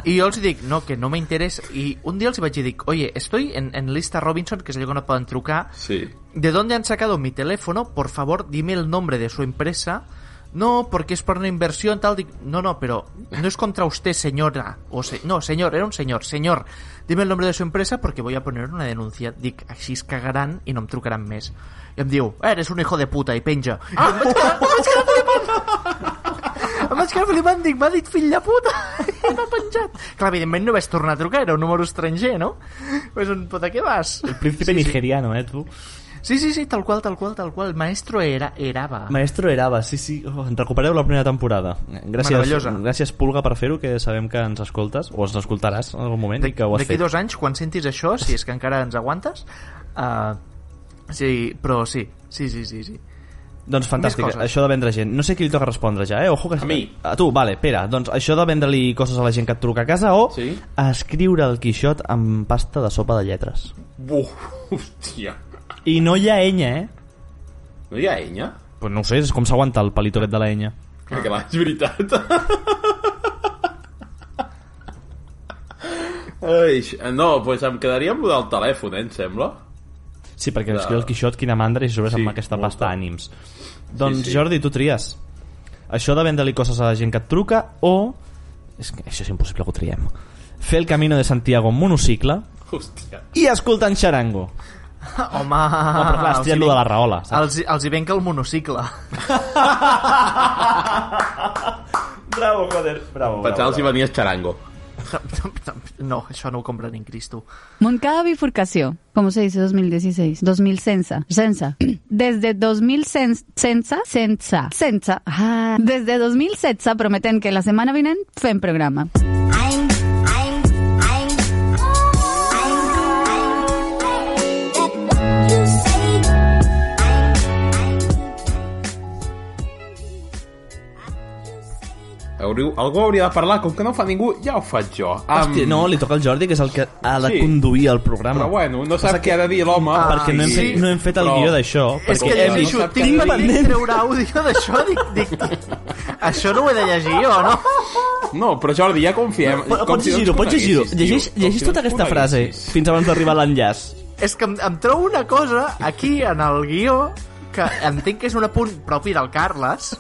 Speaker 2: I jo els dic, no, que no m'interessa. I un dia els vaig dir, dic, oye, estoy en, en lista Robinson, que és allò que no poden trucar,
Speaker 3: Sí.
Speaker 2: ¿De dónde han sacado mi teléfono? Por favor, dime el nombre de su empresa. No, porque es para una inversión tal. di- No, no, pero no es contra usted, señora. O se- No, señor, era un señor. Señor, dime el nombre de su empresa porque voy a poner una denuncia. Dic, així es cagarán y no em trucaran més. I em diu, eres un hijo de puta, i penja. I em vaig quedar, em vaig quedar flipant. Em vaig quedar flipant, dic, m'ha dit fill de puta. I m'ha penjat. Clar, evidentment no vaig tornar a trucar, era un número estranger, no? Pues un puta, què vas?
Speaker 4: El príncipe sí, nigeriano, eh, tu?
Speaker 2: Sí, sí, sí, tal cual, tal cual, tal cual. Maestro era, eraba.
Speaker 4: Maestro Erava, sí, sí. Oh, en recupereu la primera temporada. Gràcies,
Speaker 2: Meravellosa.
Speaker 4: gràcies Pulga, per fer-ho, que sabem que ens escoltes, o ens escoltaràs en algun moment,
Speaker 2: De-
Speaker 4: i que ho has
Speaker 2: D'aquí
Speaker 4: fet.
Speaker 2: dos anys, quan sentis això, si és que encara ens aguantes... Uh, sí, però sí, sí, sí, sí, sí.
Speaker 4: Doncs fantàstic,
Speaker 2: Més coses.
Speaker 4: això de vendre gent. No sé qui li toca respondre ja, eh? Ojo que...
Speaker 3: A mi.
Speaker 4: A tu, vale, espera. Doncs això de vendre-li coses a la gent que et truca a casa o
Speaker 3: Sí.
Speaker 4: escriure el Quixot amb pasta de sopa de lletres.
Speaker 3: Buf, hòstia.
Speaker 4: I no hi ha enya, eh?
Speaker 3: No hi ha enya?
Speaker 4: Pues no ho sé, és com s'aguanta el palito aquest de la enya.
Speaker 3: Perquè la és veritat. Ai, no, doncs pues em quedaria amb lo del telèfon, eh, em sembla.
Speaker 4: Sí, perquè
Speaker 3: Clar.
Speaker 4: escriu el Quixot, quina mandra, i sobre
Speaker 3: Sí,
Speaker 4: amb aquesta
Speaker 3: molta.
Speaker 4: pasta ànims. Doncs
Speaker 3: sí.
Speaker 4: Jordi, tu tries. Això de vendre-li coses a la gent que et truca o... És que això és impossible que ho triem. Fer el Camino de Santiago en monocicle
Speaker 3: Hòstia.
Speaker 4: i escoltar en xarango.
Speaker 2: Home...
Speaker 3: Ah,
Speaker 4: No, però clar, has triat lo de la raola, saps?
Speaker 2: Els, els hi venc el monocicle.
Speaker 4: Bravo, joder. Bravo,
Speaker 3: Pensava si venies xarango.
Speaker 2: No, això no ho compra ni en Cristo.
Speaker 6: Moncada bifurcación. ¿Cómo se dice 2016? 2000 censa. Censa. Desde 2000 cen- censa. Censa. Censa. Ah. Desde 2000 censa prometen que la semana vienen fem programa.
Speaker 7: Ein, ein, ein, ein, ein, ein,
Speaker 3: Hauriu, algú hauria de parlar, com que no ho fa ningú, ja ho faig jo. Am-
Speaker 4: Hòstia, no, li toca al Jordi, que és el que ha de
Speaker 3: Sí.
Speaker 4: conduir el programa.
Speaker 3: Però bueno, no sap què ha de dir l'home.
Speaker 4: Ah, perquè no hem,
Speaker 3: sí,
Speaker 4: fet, no hem fet el
Speaker 3: però-
Speaker 4: guió d'això.
Speaker 2: És
Speaker 4: perquè eh,
Speaker 2: que
Speaker 4: hem
Speaker 2: dic,
Speaker 4: vist-
Speaker 2: Xixu,
Speaker 3: sap què
Speaker 2: tinc
Speaker 4: ha de dir.
Speaker 2: pendent treure àudio d'això, dic, dic, això no ho he de llegir, o no?
Speaker 3: No, però Jordi, ja confiem.
Speaker 4: Però,
Speaker 3: Com si
Speaker 4: pots
Speaker 3: no ens
Speaker 4: llegir-ho, pots llegir-ho.
Speaker 3: coneguessis, tio.
Speaker 4: Llegeix,
Speaker 3: Com
Speaker 4: llegeix
Speaker 3: si no ens
Speaker 4: tota aquesta frase
Speaker 3: coneguessis.
Speaker 4: fins abans d'arribar a l'enllaç.
Speaker 2: És que em, em trobo una cosa aquí en el guió que entenc que és un apunt propi del Carles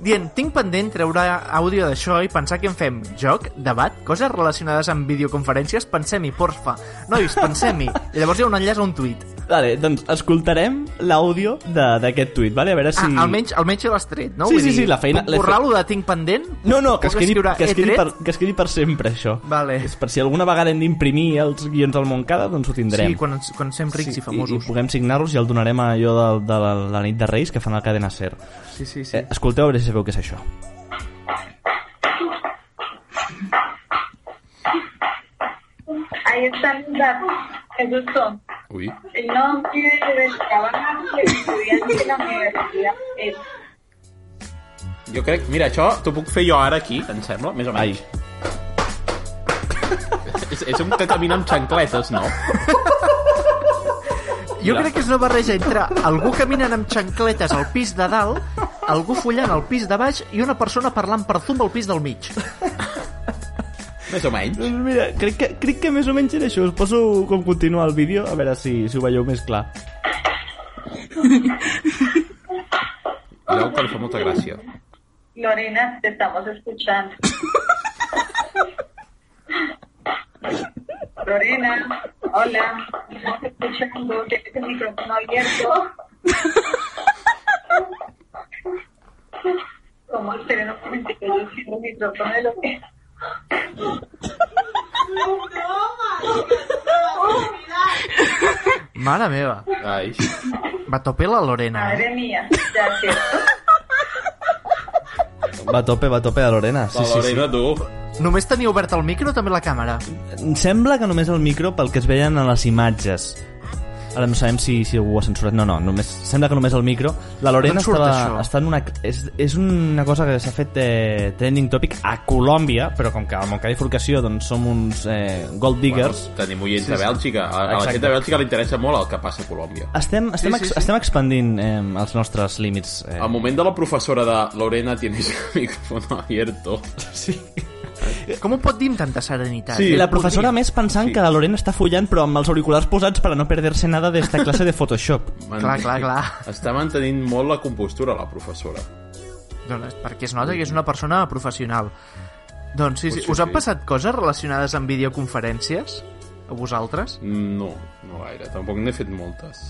Speaker 2: dient, tinc pendent treure àudio d'això i pensar que en fem joc, debat, coses relacionades amb videoconferències, pensem-hi, porfa. Nois, pensem-hi. I llavors hi ha un enllaç a un tuit.
Speaker 4: Vale, doncs escoltarem l'àudio de- d'aquest tuit, vale? a veure si...
Speaker 2: Ah, almenys, almenys l'has tret, no?
Speaker 4: Sí, sí, sí, la feina-
Speaker 2: Puc borrar lo de tinc pendent?
Speaker 4: No, no, que es,
Speaker 2: Puc
Speaker 4: quedi,
Speaker 2: escriure,
Speaker 4: que, es
Speaker 2: "He
Speaker 4: quedi
Speaker 2: tret"?
Speaker 4: per, que es quedi per sempre, això.
Speaker 2: Vale.
Speaker 4: És per si alguna vegada hem d'imprimir els guions al Montcada, doncs ho tindrem.
Speaker 2: Sí, quan, ens- quan sem rics sí, i
Speaker 4: I,
Speaker 2: famosos.
Speaker 4: i puguem signar-los i el donarem a allò de, de la, la nit de Reis que fan al Cadena Ser.
Speaker 2: sí, sí, sí.
Speaker 4: Eh, escolteu a veure si sabeu què és això.
Speaker 7: Ahí están mis datos. Esos son
Speaker 3: Ui.
Speaker 7: el nombre del trabajo del estudiante de la universidad. Es
Speaker 3: Jo crec, mira, això t'ho puc fer jo ara aquí, em sembla, més o
Speaker 4: Ai,
Speaker 3: menys. És, és un que camina amb xancletes, no?
Speaker 2: Jo crec que és una barreja entre algú caminant amb xancletes al pis de dalt, algú follant al pis de baix i una persona parlant per Zoom al pis del mig.
Speaker 3: Més o menys.
Speaker 4: Doncs mira, crec que, crec que més o menys era això. Us poso com continua el vídeo, a veure si, si ho veieu més clar.
Speaker 3: Mireu que li fa molta gràcia.
Speaker 7: Lorena, te estamos escuchando. Lorena, hola, te estamos escuchando, tienes el micrófono abierto. ¿Cómo esperen un momento que yo cierro el micrófono de Lorena?
Speaker 2: Mare meva,
Speaker 3: Ai.
Speaker 2: va tope la Lorena. eh?
Speaker 7: Madre mía, ya cierto.
Speaker 4: Va a tope, va a tope de Lorena. Sí,
Speaker 3: La
Speaker 4: sí, sí.
Speaker 3: Lorena, tu.
Speaker 2: Només tenia obert el micro o també la càmera?
Speaker 4: Em sembla que només el micro pel que es veien a les imatges. Ara no sabem si, si algú ho ha censurat. No, no, només, sembla que només el micro. La Lorena
Speaker 2: D'on surt
Speaker 4: estava,
Speaker 2: això?
Speaker 4: està en una... És, és una cosa que s'ha fet eh, trending topic a Colòmbia, però com que a Montcada i Forcació doncs, som uns eh, gold diggers...
Speaker 3: Bueno, tenim oients de Bèlgica. A, a la
Speaker 4: Exacte.
Speaker 3: gent de Bèlgica li interessa molt el que passa a Colòmbia.
Speaker 4: Estem, estem,
Speaker 2: sí,
Speaker 4: ex-
Speaker 2: sí.
Speaker 4: estem expandint eh, els nostres límits. Eh.
Speaker 3: Al moment de la professora de Lorena tienes el micrófono abierto.
Speaker 4: Sí.
Speaker 2: Com ho pot dir amb tanta serenitat?
Speaker 3: Sí.
Speaker 4: I la
Speaker 3: ho
Speaker 4: professora
Speaker 3: podria.
Speaker 4: més pensant
Speaker 3: Sí.
Speaker 4: que la Lorena està follant però amb els auriculars posats per a no perdre-se nada d'esta classe de Photoshop.
Speaker 3: Man-
Speaker 2: Clar, clar, clar.
Speaker 3: Està mantenint molt la compostura, la professora.
Speaker 2: Doncs perquè es nota que és una persona professional. Doncs sí, sí.
Speaker 3: Potser
Speaker 2: Us han
Speaker 3: sí.
Speaker 2: passat coses relacionades amb videoconferències? A vosaltres?
Speaker 3: No, no gaire. Tampoc n'he fet moltes.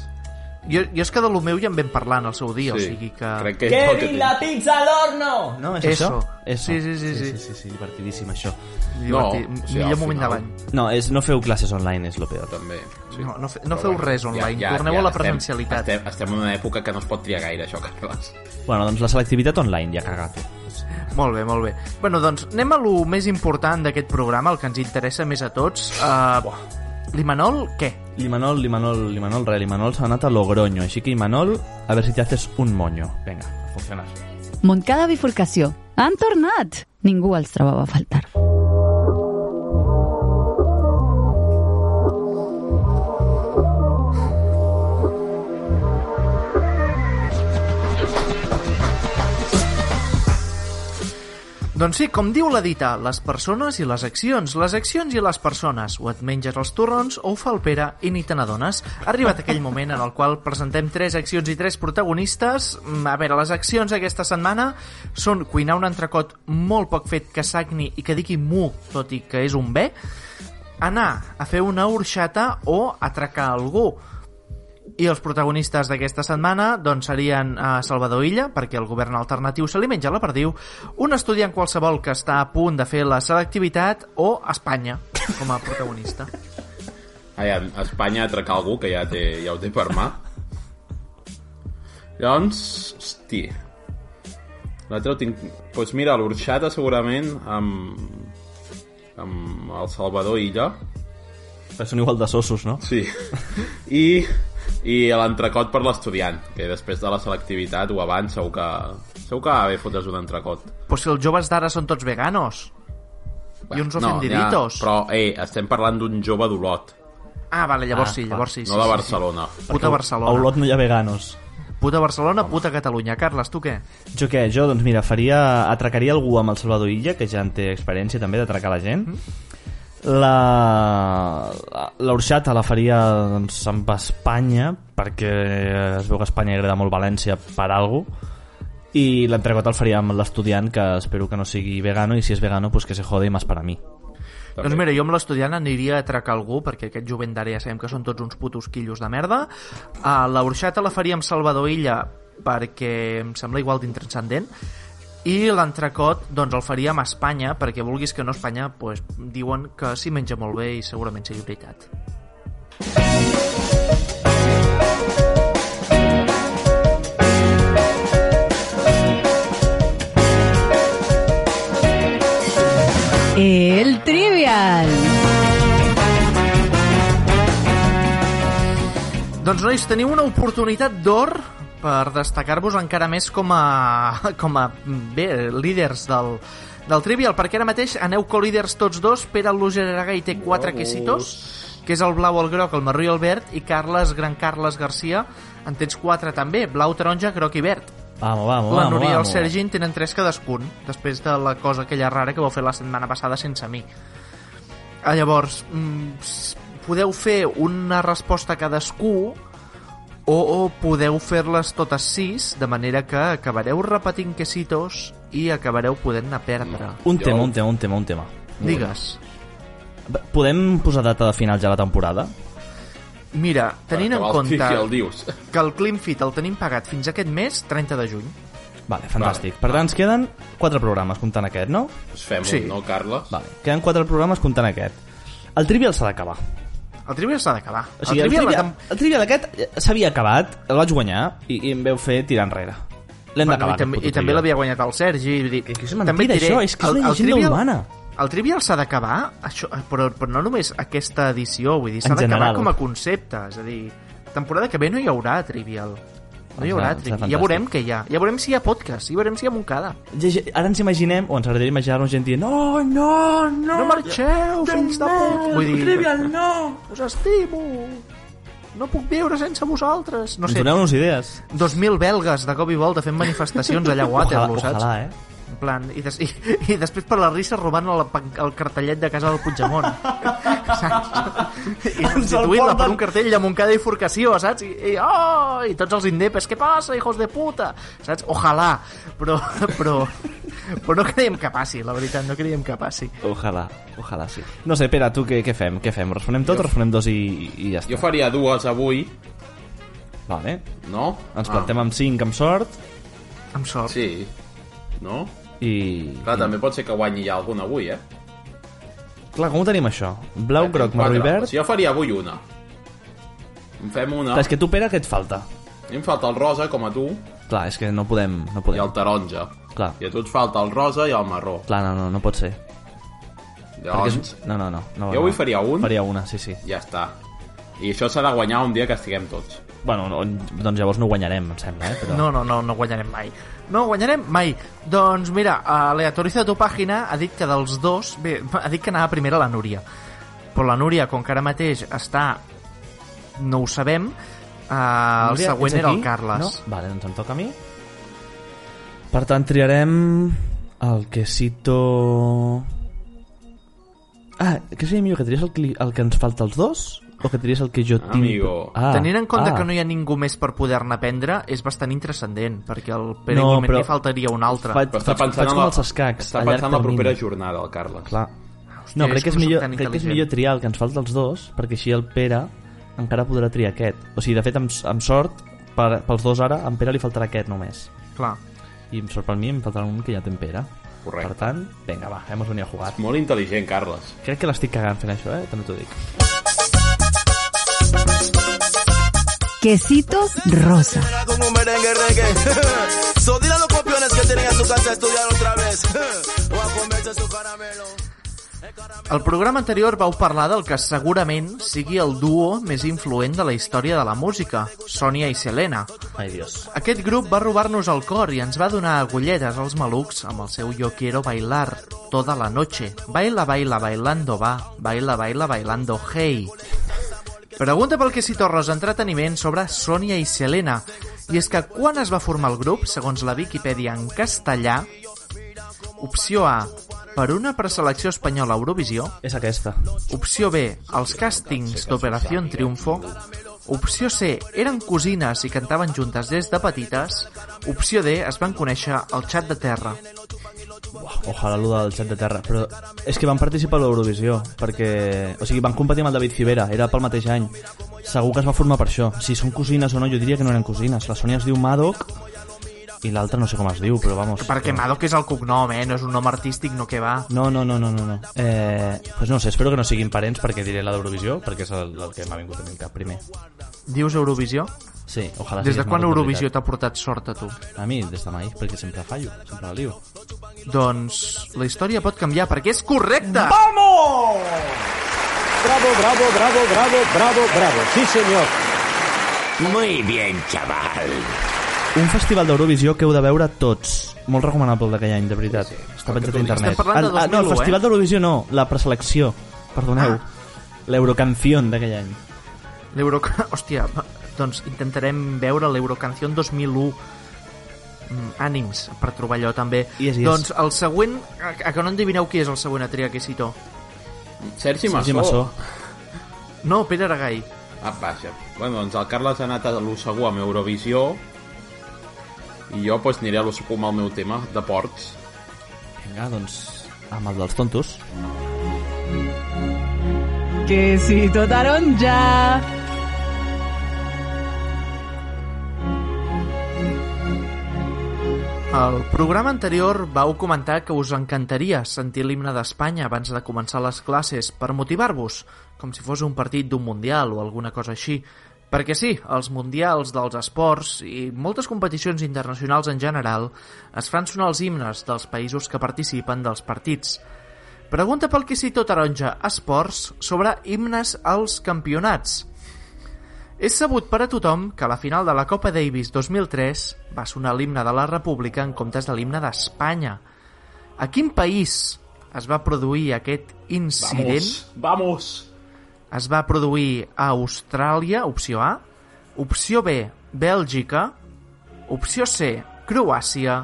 Speaker 2: Jo, jo és que de lo meu ja en vam parlar en el seu dia, o sigui que...
Speaker 3: Crec que és el que tinc.
Speaker 4: pizza al horno! No, és
Speaker 2: Eso.
Speaker 4: això? Eso.
Speaker 2: Sí, sí, sí,
Speaker 4: sí,
Speaker 2: sí.
Speaker 4: sí, sí, sí divertidíssim, això.
Speaker 2: divertit.
Speaker 3: No, o sigui, al
Speaker 2: Millor moment
Speaker 3: final-
Speaker 2: d'avant.
Speaker 4: No, és, no feu classes online, és lo peor.
Speaker 3: També. Sí.
Speaker 2: No, no fe- no feu res online, torneu a la presencialitat.
Speaker 3: Estem, estem, estem en una època que no es pot triar gaire, això, Carles.
Speaker 4: Bueno, doncs la selectivitat online, ja cagat.
Speaker 2: Molt bé, molt bé. Bueno, doncs anem a lo més important d'aquest programa, el que ens interessa més a tots. Uh, L'Imanol, què?
Speaker 4: Limanol, Limanol, Limanol, re, Limanol s'ha anat a Logroño, així que Imanol, a veure si te haces un moño. Venga, a funcionar.
Speaker 6: Montcada bifurcació. Han tornat! Ningú els trobava a faltar.
Speaker 2: Doncs sí, com diu la dita, les persones i les accions, les accions i les persones. O et menges els torrons o ho fa el Pere i ni te n'adones. Ha arribat aquell moment en el qual presentem tres accions i tres protagonistes. Mm, A veure, les accions aquesta setmana són cuinar un entrecot molt poc fet que sagni i que digui mu, tot i que és un bé, anar a fer una orxata o atracar algú. I els protagonistes d'aquesta setmana doncs, serien eh, Salvador Illa, perquè el govern alternatiu se li menja la perdiu, un estudiant qualsevol que està a punt de fer la selectivitat o Espanya com a protagonista.
Speaker 3: Ai, a Espanya atracar algú que ja, té, ja ho té per mà. Llavors, hòstia. L'altre ho tinc... Doncs pues mira, l'Orxata segurament amb... amb el Salvador Illa.
Speaker 4: Però són igual de sossos, no?
Speaker 3: Sí. I, i l'entrecot per l'estudiant, que després de la selectivitat o abans segur que, Segur que va bé fotre's un entrecot.
Speaker 2: Però si els joves d'ara són tots veganos. I uns ofendiditos.
Speaker 3: Ja, però, eh, estem parlant d'un jove d'Olot,
Speaker 2: Ah, vale, llavors
Speaker 4: Ah,
Speaker 2: sí,
Speaker 4: clar.
Speaker 2: llavors sí. sí,
Speaker 3: no de
Speaker 2: sí,
Speaker 3: Barcelona.
Speaker 2: Sí. Puta Barcelona.
Speaker 4: A Olot no hi ha veganos.
Speaker 2: Puta Barcelona, puta Catalunya. Carles, tu què?
Speaker 4: Jo què? Jo, doncs mira, faria... Atracaria algú amb el Salvador Illa, que ja en té experiència també d'atracar la gent.
Speaker 2: Mm-hmm.
Speaker 4: La... la- L'orxata la faria doncs, amb Espanya, perquè eh, es veu que Espanya agrada molt València per algo i l'entrecot el faria amb l'estudiant que espero que no sigui vegano i si és vegano pues que se jode i més per a mi
Speaker 3: També.
Speaker 2: Doncs mira, jo amb l'estudiant aniria a atracar algú, perquè aquest jovent d'ara ja sabem que són tots uns putos quillos de merda. A la horxata la faria amb Salvador Illa, perquè em sembla igual d'intranscendent. I l'entrecot, doncs el faria amb Espanya, perquè vulguis que no Espanya, pues, diuen que s'hi menja molt bé i segurament sigui veritat.
Speaker 6: El Trivial.
Speaker 2: Doncs nois, teniu una oportunitat d'or per destacar-vos encara més com a, com a bé, líders del, del Trivial, perquè ara mateix aneu co-líders tots dos, Pere Lugeraga i té quatre quesitos, que és el blau, el groc, el marró i el verd, i Carles, Gran Carles Garcia, en tens quatre també, blau, taronja, groc i verd.
Speaker 4: Vamos, vamos,
Speaker 2: La
Speaker 4: vamos,
Speaker 2: Núria i el
Speaker 4: vamos.
Speaker 2: Sergi en tenen tres cadascun, després de la cosa aquella rara que vau fer la setmana passada sense mi. Ah, Llavors, mm, s- podeu fer una resposta a cadascú o, o podeu fer-les totes sis, de manera que acabareu repetint quesitos i acabareu podent anar a perdre.
Speaker 4: Un tema, un tema, un tema, un tema
Speaker 2: Digues.
Speaker 4: Podem posar data de final ja a la temporada?
Speaker 2: Mira, tenint en
Speaker 3: Acabar el
Speaker 2: compte
Speaker 3: tiki, El dius.
Speaker 2: que el Clean Fit el tenim pagat fins aquest mes, 30 de juny,
Speaker 4: Vale, fantàstic. Per tant, ens queden 4 programes comptant aquest, no?
Speaker 3: Pues fem
Speaker 2: Sí.
Speaker 3: sí. un, no, Carles?
Speaker 4: Vale, queden 4 programes comptant aquest. El Trivial s'ha d'acabar.
Speaker 2: el Trivial s'ha d'acabar.
Speaker 4: O sigui, el,
Speaker 2: Trivial la
Speaker 4: trivial,
Speaker 2: tem-
Speaker 4: el trivial aquest eh, s'havia acabat, el vaig guanyar i, i em veu fer tirar enrere. L'hem
Speaker 2: Bueno,
Speaker 4: d'acabar.
Speaker 2: i, tam i també l'havia guanyat el Sergi vull dir,
Speaker 4: que és mentida, això, és que és una llegenda urbana.
Speaker 2: el Trivial s'ha d'acabar això, eh, però, però no només aquesta edició vull dir, s'ha
Speaker 4: En
Speaker 2: d'acabar
Speaker 4: general.
Speaker 2: com a concepte és a dir, temporada que ve no hi haurà Trivial no hi
Speaker 4: Em
Speaker 2: haurà Trivial ja
Speaker 4: sembla- em sembla fantàstic. guanyat.
Speaker 2: veurem què hi ha ja veurem si hi ha podcast, ja veurem si hi ha Montcada
Speaker 4: Ara ens imaginem, o ens agradaria imaginar-nos gent dient no, no, no,
Speaker 2: no marxeu, fills de puta vull dir,
Speaker 4: Trivial, no!
Speaker 2: us estimo no puc viure sense vosaltres no
Speaker 4: Ens
Speaker 2: sé,
Speaker 4: doneu-nos idees.
Speaker 2: 2.000 belgues de cop i volta fent manifestacions allà a Waterloo, saps?
Speaker 4: ojalà, eh?
Speaker 2: En plan, i, des, i, i després per la risa robant el, el cartellet de casa del Puigdemont. saps? I substituint-la per un cartell de Montcada i Forcació, saps? I, i, oh, i tots els indepes, què passa, hijos de puta? Saps? Ojalà, però, però, però no creiem que passi, la veritat, no creiem que passi.
Speaker 4: Ojalà, ojalà, sí. No sé, Pere, tu què, què fem? Què fem? Responem tot, responem dos i, i ja està.
Speaker 3: Jo faria dues avui,
Speaker 4: Vale.
Speaker 3: no?
Speaker 2: Ah.
Speaker 3: Ah,
Speaker 4: Ens plantem amb cinc, amb sort,
Speaker 2: Amb sort. Sí.
Speaker 3: Sí. No?
Speaker 4: i...
Speaker 3: Clar, també pot ser que guanyi ja algun avui, eh?
Speaker 4: Clar, com ho tenim, això? Blau, groc, marró i
Speaker 3: Quatre.
Speaker 4: verd...
Speaker 3: O sigui, jo faria avui una. En fem una.
Speaker 4: Clar, és que tu, Pere, què et falta?
Speaker 3: A mi em falta el rosa, com a tu,
Speaker 4: Clar, és que no podem... No
Speaker 3: i
Speaker 4: podem.
Speaker 3: el taronja.
Speaker 4: Clar.
Speaker 3: I a tu et falta el rosa i el marró.
Speaker 4: Clar, no, no, no pot ser. Perquè
Speaker 3: Llavors,
Speaker 4: és... No, no, no. no
Speaker 3: Doncs, Jo avui
Speaker 4: no.
Speaker 3: faria un.
Speaker 4: Faria una, sí, sí.
Speaker 3: ja està. I això s'ha de guanyar un dia que estiguem tots.
Speaker 4: Bueno, no, doncs llavors no ho guanyarem, em sembla, eh? Però...
Speaker 2: No, no, no, no guanyarem mai. No guanyarem mai. Doncs mira, aleatoriza tu pàgina ha dit que dels dos... Bé, ha dit que anava primera la Núria. Però la Núria, com que ara mateix està... No ho sabem, eh, el
Speaker 4: Núria,
Speaker 2: següent
Speaker 4: ets
Speaker 2: era el
Speaker 4: aquí?
Speaker 2: Carles.
Speaker 4: No? Vale, doncs em toca a mi. Per tant, triarem el quesito... Ah, què seria millor? Que tries el, que- el que ens falta als dos? O que tries el que jo tinc?
Speaker 3: Amigo.
Speaker 4: Ah,
Speaker 2: Tenint en compte
Speaker 4: ah.
Speaker 2: que no hi ha ningú més per poder-ne prendre, és bastant intrascendent, perquè el Pere no,
Speaker 4: No,
Speaker 2: igualment
Speaker 4: però-
Speaker 2: però... faltaria un altre.
Speaker 4: Faig,
Speaker 3: Però està
Speaker 4: faig,
Speaker 3: pensant
Speaker 4: faig
Speaker 3: en
Speaker 4: com
Speaker 3: la-
Speaker 4: els escacs.
Speaker 3: Està
Speaker 4: a llarg
Speaker 3: pensant en la
Speaker 4: termini.
Speaker 3: propera jornada, el Carles.
Speaker 4: Clar. No, crec
Speaker 2: és
Speaker 4: que, és
Speaker 2: com
Speaker 4: millor,
Speaker 2: soc tan
Speaker 4: crec que és
Speaker 2: intel·ligent.
Speaker 4: millor triar el que ens falta els dos, perquè així el Pere encara podrà triar aquest. O sigui, de fet, amb, amb sort, per, pels dos ara, a en Pere li faltarà aquest només.
Speaker 2: Clar.
Speaker 4: I amb sort per mi em faltarà un que ja té en Pere.
Speaker 3: Correcte.
Speaker 4: Per tant, vinga, va, hemos venit a jugar.
Speaker 3: Molt intel·ligent, Carles.
Speaker 4: Crec que l'estic cagant fent això, eh? També t'ho dic.
Speaker 6: Quesitos rosa.
Speaker 8: como merengue reggae. So dile a los copiones que tienen en su casa a estudiar otra vez. O a comerse su caramelo.
Speaker 2: Al programa anterior vau parlar del que segurament sigui el duo més influent de la història de la música, Sònia i Selena.
Speaker 4: Ai, Dios.
Speaker 2: Aquest grup va robar-nos el cor i ens va donar agulletes als malucs amb el seu Yo quiero bailar toda la noche. Baila, baila, bailando va. Baila, baila, bailando hey. Pregunta pel que s'hi torres entreteniment sobre Sònia i Selena. I és que quan es va formar el grup, segons la Viquipèdia en castellà, opció A, per una preselecció espanyola a Eurovisió,
Speaker 4: És aquesta.
Speaker 2: Opció B, els càstings d'Operació Triunfo. Opció C, eren cosines i cantaven juntes des de petites. Opció D, es van conèixer al xat de terra.
Speaker 4: Ojalà lo del xat de terra. Però és que van participar a l'Eurovisió, perquè... O sigui, van competir amb el David Fibera, era pel mateix any. Segur que es va formar per això. Si són cosines o no, jo diria que no eren cosines. La Sònia es diu Madoc i l'altra no sé com es diu, però vamos...
Speaker 2: Perquè Madoc és el cognom, eh? No és un nom artístic, no que va.
Speaker 4: No, no, no, no, no. no. Eh, pues no ho sé, espero que no siguin parents perquè diré la d'Eurovisió, perquè és el, el que m'ha vingut a mi al cap primer.
Speaker 2: Dius Eurovisió?
Speaker 4: Sí, ojalà
Speaker 2: Des de
Speaker 4: sigués
Speaker 2: quan
Speaker 4: Madoc
Speaker 2: Eurovisió
Speaker 4: veritat.
Speaker 2: t'ha portat sort a tu?
Speaker 4: A mi, des de mai, perquè sempre fallo, sempre la lio.
Speaker 2: Doncs la història pot canviar perquè és correcta!
Speaker 9: Bravo, bravo, bravo, bravo, bravo, bravo. Sí, señor.
Speaker 8: Muy bien, chaval.
Speaker 4: Un festival d'Eurovisió que heu de veure tots. Molt recomanable el d'aquell any, de veritat. Està penjat a internet.
Speaker 2: Estem parlant de
Speaker 4: Ah, ah, no, el
Speaker 2: 2001, eh?
Speaker 4: festival
Speaker 2: Ah.
Speaker 4: d'Eurovisió no, la preselecció. Perdoneu. L'Eurocanción d'aquell any.
Speaker 2: L'Euro... Hòstia, doncs intentarem veure l'Eurocanción 2001 Mm, ànims per trobar allò també
Speaker 4: Yes, yes.
Speaker 2: doncs el següent, a, a que no endivineu qui és el següent a triar que cito
Speaker 3: Sergi Massó.
Speaker 4: Sergi Massó.
Speaker 2: no, Pere Aragai
Speaker 3: Ah, vaja. Bueno, doncs el Carles ha anat a lo segur amb Eurovisió i jo pues, aniré a lo segur amb el meu tema de porcs.
Speaker 4: Vinga, doncs, amb el dels tontos.
Speaker 5: Quesito taronja.
Speaker 2: al programa anterior vau comentar que us encantaria sentir l'himne d'Espanya abans de començar les classes per motivar-vos, com si fos un partit d'un mundial o alguna cosa així perquè sí, els mundials dels esports i moltes competicions internacionals en general es fan sonar els himnes dels països que participen dels partits Pregunta pel Quisito Taronja Esports sobre himnes als campionats. És sabut per a tothom que a la final de la Copa Davis 2003 va sonar l'himne de la República en comptes de l'himne d'Espanya. A quin país es va produir aquest incident?
Speaker 3: Vamos!
Speaker 2: Es va produir a Austràlia, opció A, opció B, Bèlgica, opció C, Croàcia,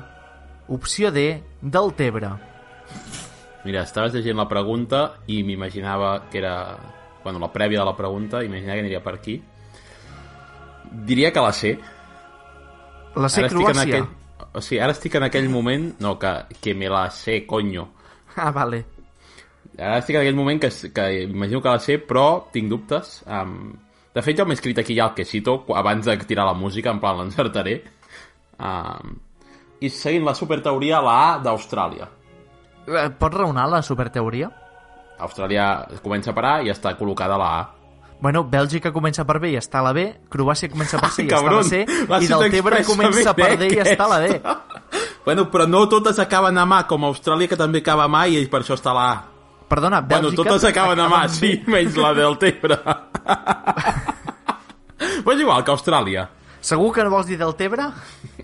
Speaker 2: opció D, del Tebre.
Speaker 3: Mira, estaves llegint la pregunta i m'imaginava que era... Bueno, la prèvia de la pregunta, imaginava que aniria per aquí. Diria que la sé.
Speaker 2: La C,
Speaker 3: en
Speaker 2: Croàcia.
Speaker 3: aquell... O sigui, ara estic en aquell moment... No, que, que me la sé, coño.
Speaker 2: Ah, vale.
Speaker 3: Ara estic en aquell moment que, que imagino que la sé, però tinc dubtes. Um, de fet, jo m'he escrit aquí ja el que cito qu- abans de tirar la música, en plan, l'encertaré. Um, I seguint la superteoria, la A d'Austràlia.
Speaker 2: Eh, Pots raonar la superteoria?
Speaker 3: Austràlia comença per A i està col·locada la A.
Speaker 2: Bueno, Bèlgica comença per B i està a la B, Croàcia comença per C i està a la
Speaker 3: Cabron,
Speaker 2: C,
Speaker 3: l'ha
Speaker 2: i
Speaker 3: citat
Speaker 2: del Tebre comença per D i
Speaker 3: expressament, eh,
Speaker 2: està a la D.
Speaker 3: aquesta. Bueno, però no totes acaben a mà, com Austràlia, que també acaba a mà, i per això està la A.
Speaker 2: Perdona,
Speaker 3: Bueno,
Speaker 2: Bèlgica...
Speaker 3: totes acaben a mà,
Speaker 2: amb
Speaker 3: sí,
Speaker 2: B.
Speaker 3: menys la del Tebre. Però és igual que Austràlia.
Speaker 2: Segur que no vols dir del Tebre?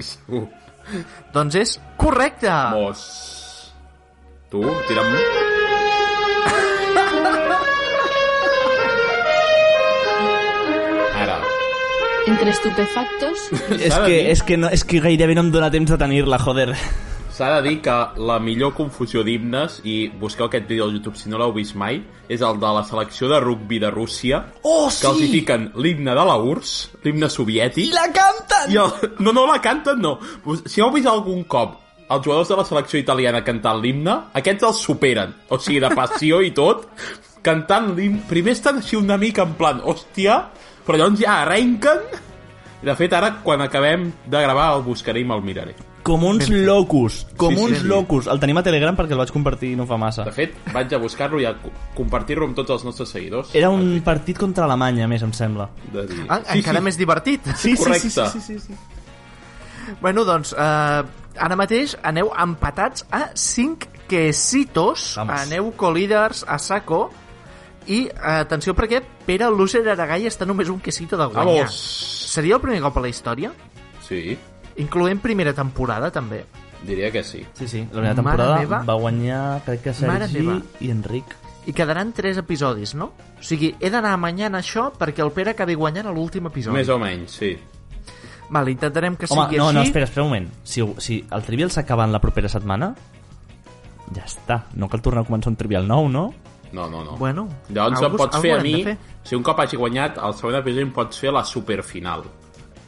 Speaker 3: Segur.
Speaker 2: Doncs és correcte!
Speaker 3: Mos. Tu, tira'm... Ara.
Speaker 10: Entre estupefactos,
Speaker 4: És
Speaker 3: S'ha de
Speaker 4: que,
Speaker 3: dir-
Speaker 4: és, que no, és que gairebé no em dóna temps de tenir-la, joder.
Speaker 3: S'ha de dir que la millor confusió d'himnes, i busqueu aquest vídeo al YouTube si no l'heu vist mai, és el de la selecció de rugbi de Rússia,
Speaker 4: Oh,
Speaker 3: que els hi fiquen l'himne de la URSS, l'himne soviètic... I la canten! I el... No, no la canten, no. Us- Si heu vist algun cop els jugadors de la selecció italiana cantant l'himne, aquests els superen. O sigui, de passió i tot, cantant l'himne... Primer estan així una mica en plan, hòstia, però llavors ja arrenquen... I de fet, ara, quan acabem de gravar, el buscaré i me'l miraré.
Speaker 4: Com uns locos, com
Speaker 3: Sí, sí,
Speaker 4: uns
Speaker 3: sí.
Speaker 4: locos. El tenim a Telegram perquè el vaig compartir no fa massa.
Speaker 3: De fet, vaig a buscar-lo i a co- compartir-lo amb tots els nostres seguidors.
Speaker 4: Era un partit contra Alemanya, a més, em sembla.
Speaker 3: De dir...
Speaker 2: Ah, encara més divertit.
Speaker 4: Sí, sí,
Speaker 3: Correcte.
Speaker 4: sí, sí, sí, sí, sí.
Speaker 2: Bueno, doncs, eh, ara mateix aneu empatats a 5 quesitos, Vamos. aneu colíders a saco, i eh, atenció perquè Pere Lúcer Aragai està només un quesito de guanyar.
Speaker 3: Vamos.
Speaker 2: Seria el primer cop a la història?
Speaker 3: Sí,
Speaker 2: Incloent primera temporada, també.
Speaker 3: diria que sí.
Speaker 4: Sí, sí, la primera temporada
Speaker 2: Mare meva.
Speaker 4: va guanyar, crec que
Speaker 2: Mare
Speaker 4: Sergi
Speaker 2: meva.
Speaker 4: i Enric.
Speaker 2: I quedaran tres episodis, no? O sigui, he d'anar mañana a això perquè el Pere acabi guanyant a l'últim episodi.
Speaker 3: Més o menys, sí.
Speaker 2: Vale, intentarem que
Speaker 4: Home,
Speaker 2: sigui
Speaker 4: no,
Speaker 2: així.
Speaker 4: no, espera, espera un moment. Si, si el Trivial s'acaba en la propera setmana, ja està. No cal tornar a començar un Trivial nou, no?
Speaker 3: No, no, no.
Speaker 4: Bueno,
Speaker 3: Llavors em
Speaker 4: algú-
Speaker 3: pots fer a
Speaker 4: algú hem
Speaker 3: mi,
Speaker 4: de fer.
Speaker 3: si un cop hagi guanyat, el segon episodi em pots fer la superfinal.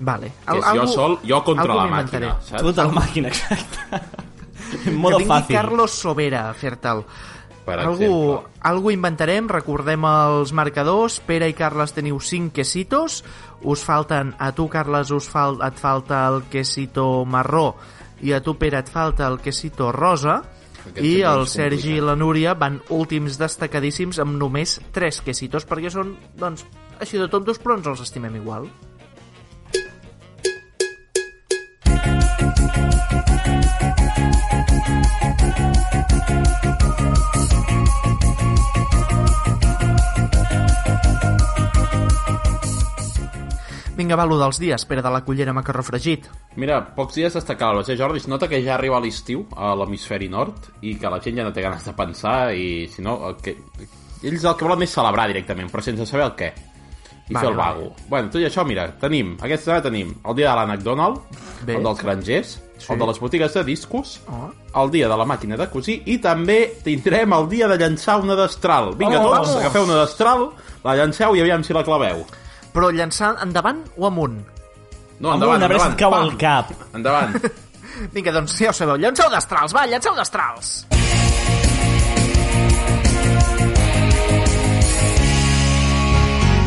Speaker 2: Vale.
Speaker 3: Que és jo sol, jo contra
Speaker 2: algú
Speaker 3: la
Speaker 2: m'inventaré.
Speaker 3: màquina, saps?
Speaker 4: Tu ets el màquina, exacte. En modo
Speaker 2: que vingui
Speaker 4: fàcil.
Speaker 2: Carlos Sobera a fer-te'l.
Speaker 3: Per
Speaker 2: Algú, algú inventarem, recordem els marcadors. Pere i Carles teniu 5 quesitos. Us falten, a tu, Carles, us fal, et falta el quesito marró i a tu, Pere, et falta el quesito rosa.
Speaker 11: Aquest
Speaker 2: I
Speaker 11: tema
Speaker 2: el
Speaker 11: és
Speaker 2: Sergi i la Núria van últims destacadíssims amb només 3 quesitos, perquè són, doncs, així de tontos, però ens els estimem igual. Vinga, va, lo dels dies, Pere de la Cullera Macarró Fregit.
Speaker 3: Mira, pocs dies està clar, la Jordi es nota que ja arriba l'estiu a l'hemisferi nord i que la gent ja no té ganes de pensar i si no, el que... ells el que volen és celebrar directament, però sense saber el què i
Speaker 12: Vale,
Speaker 3: fer el vago. Bueno, tot i això, mira, tenim, aquesta setmana tenim el dia de la McDonald,
Speaker 12: Bé.
Speaker 3: el dels grangers,
Speaker 12: Sí. Ah.
Speaker 3: el de les botigues de discos,
Speaker 2: Oh.
Speaker 3: el dia de la màquina de cosir i també tindrem el dia de llançar una destral. Vinga,
Speaker 2: Oh,
Speaker 3: oh, tots,
Speaker 2: vamos.
Speaker 3: agafeu una destral, la llanceu i aviam si la claveu.
Speaker 2: Però llançar endavant o amunt?
Speaker 3: No, endavant, endavant. Pam.
Speaker 4: cap.
Speaker 3: Endavant.
Speaker 2: Vinga, doncs ja ho sabeu, llanceu destrals, va, llanceu destrals!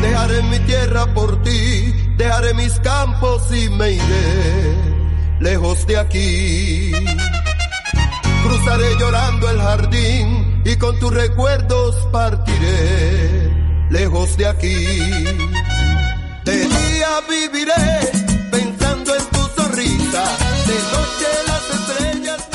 Speaker 13: Dejaré mi tierra por ti, dejaré mis campos y me iré lejos de aquí. Cruzaré llorando el jardín y con tus recuerdos partiré lejos de aquí. De día viviré pensando en tu sonrisa, de noche las estrellas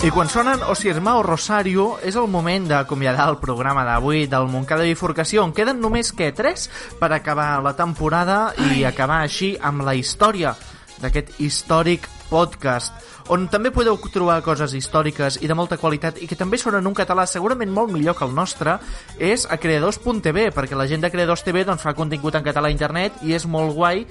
Speaker 13: me
Speaker 2: I quan sonen O si Hermao Rosario, és el moment d'acomiadar el programa d'avui del Montcada Bifurcació. En queden només, que 3 per acabar la temporada i acabar així amb la història d'aquest històric podcast, on també podeu trobar coses històriques i de molta qualitat i que també són en un català segurament molt millor que el nostre, és a creadors.tv, perquè la gent de Creadors TV doncs, fa contingut en català a internet i és molt guai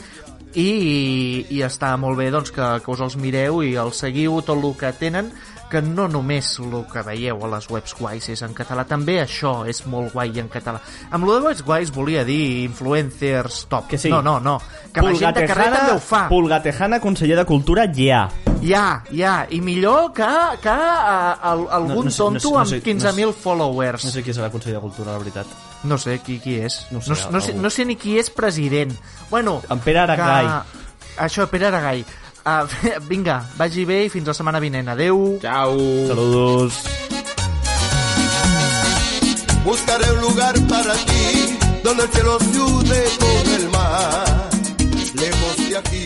Speaker 2: i, i està molt bé doncs, que, que us els mireu i els seguiu tot el que tenen que no només el que veieu a les webs guais és en català, també això és molt guai en català. Amb lo de webs guais volia dir influencers top. Que
Speaker 4: sí.
Speaker 2: No, no, no. Que la gent de carrer també ho fa.
Speaker 4: Pulgatejana, conseller de Cultura, ja.
Speaker 2: Ja, ja, i millor que, que a, a, algun no, no sé, tonto no sé, no sé, amb 15.000 no sé, followers.
Speaker 4: No sé qui és la conseller de Cultura, la veritat.
Speaker 2: No sé qui, qui és.
Speaker 4: No sé,
Speaker 2: No, sé- no, sé,
Speaker 4: algú.
Speaker 2: no sé ni qui és president. Bueno,
Speaker 4: En Pere Aragai.
Speaker 2: Que... Això, Pere Aragai. Uh, vinga, vagi bé i fins la setmana vinent. Adeu.
Speaker 3: Ciao.
Speaker 4: Saludos.
Speaker 13: Buscaré un lugar para ti, donde el cielo se une con el mar, lejos de aquí.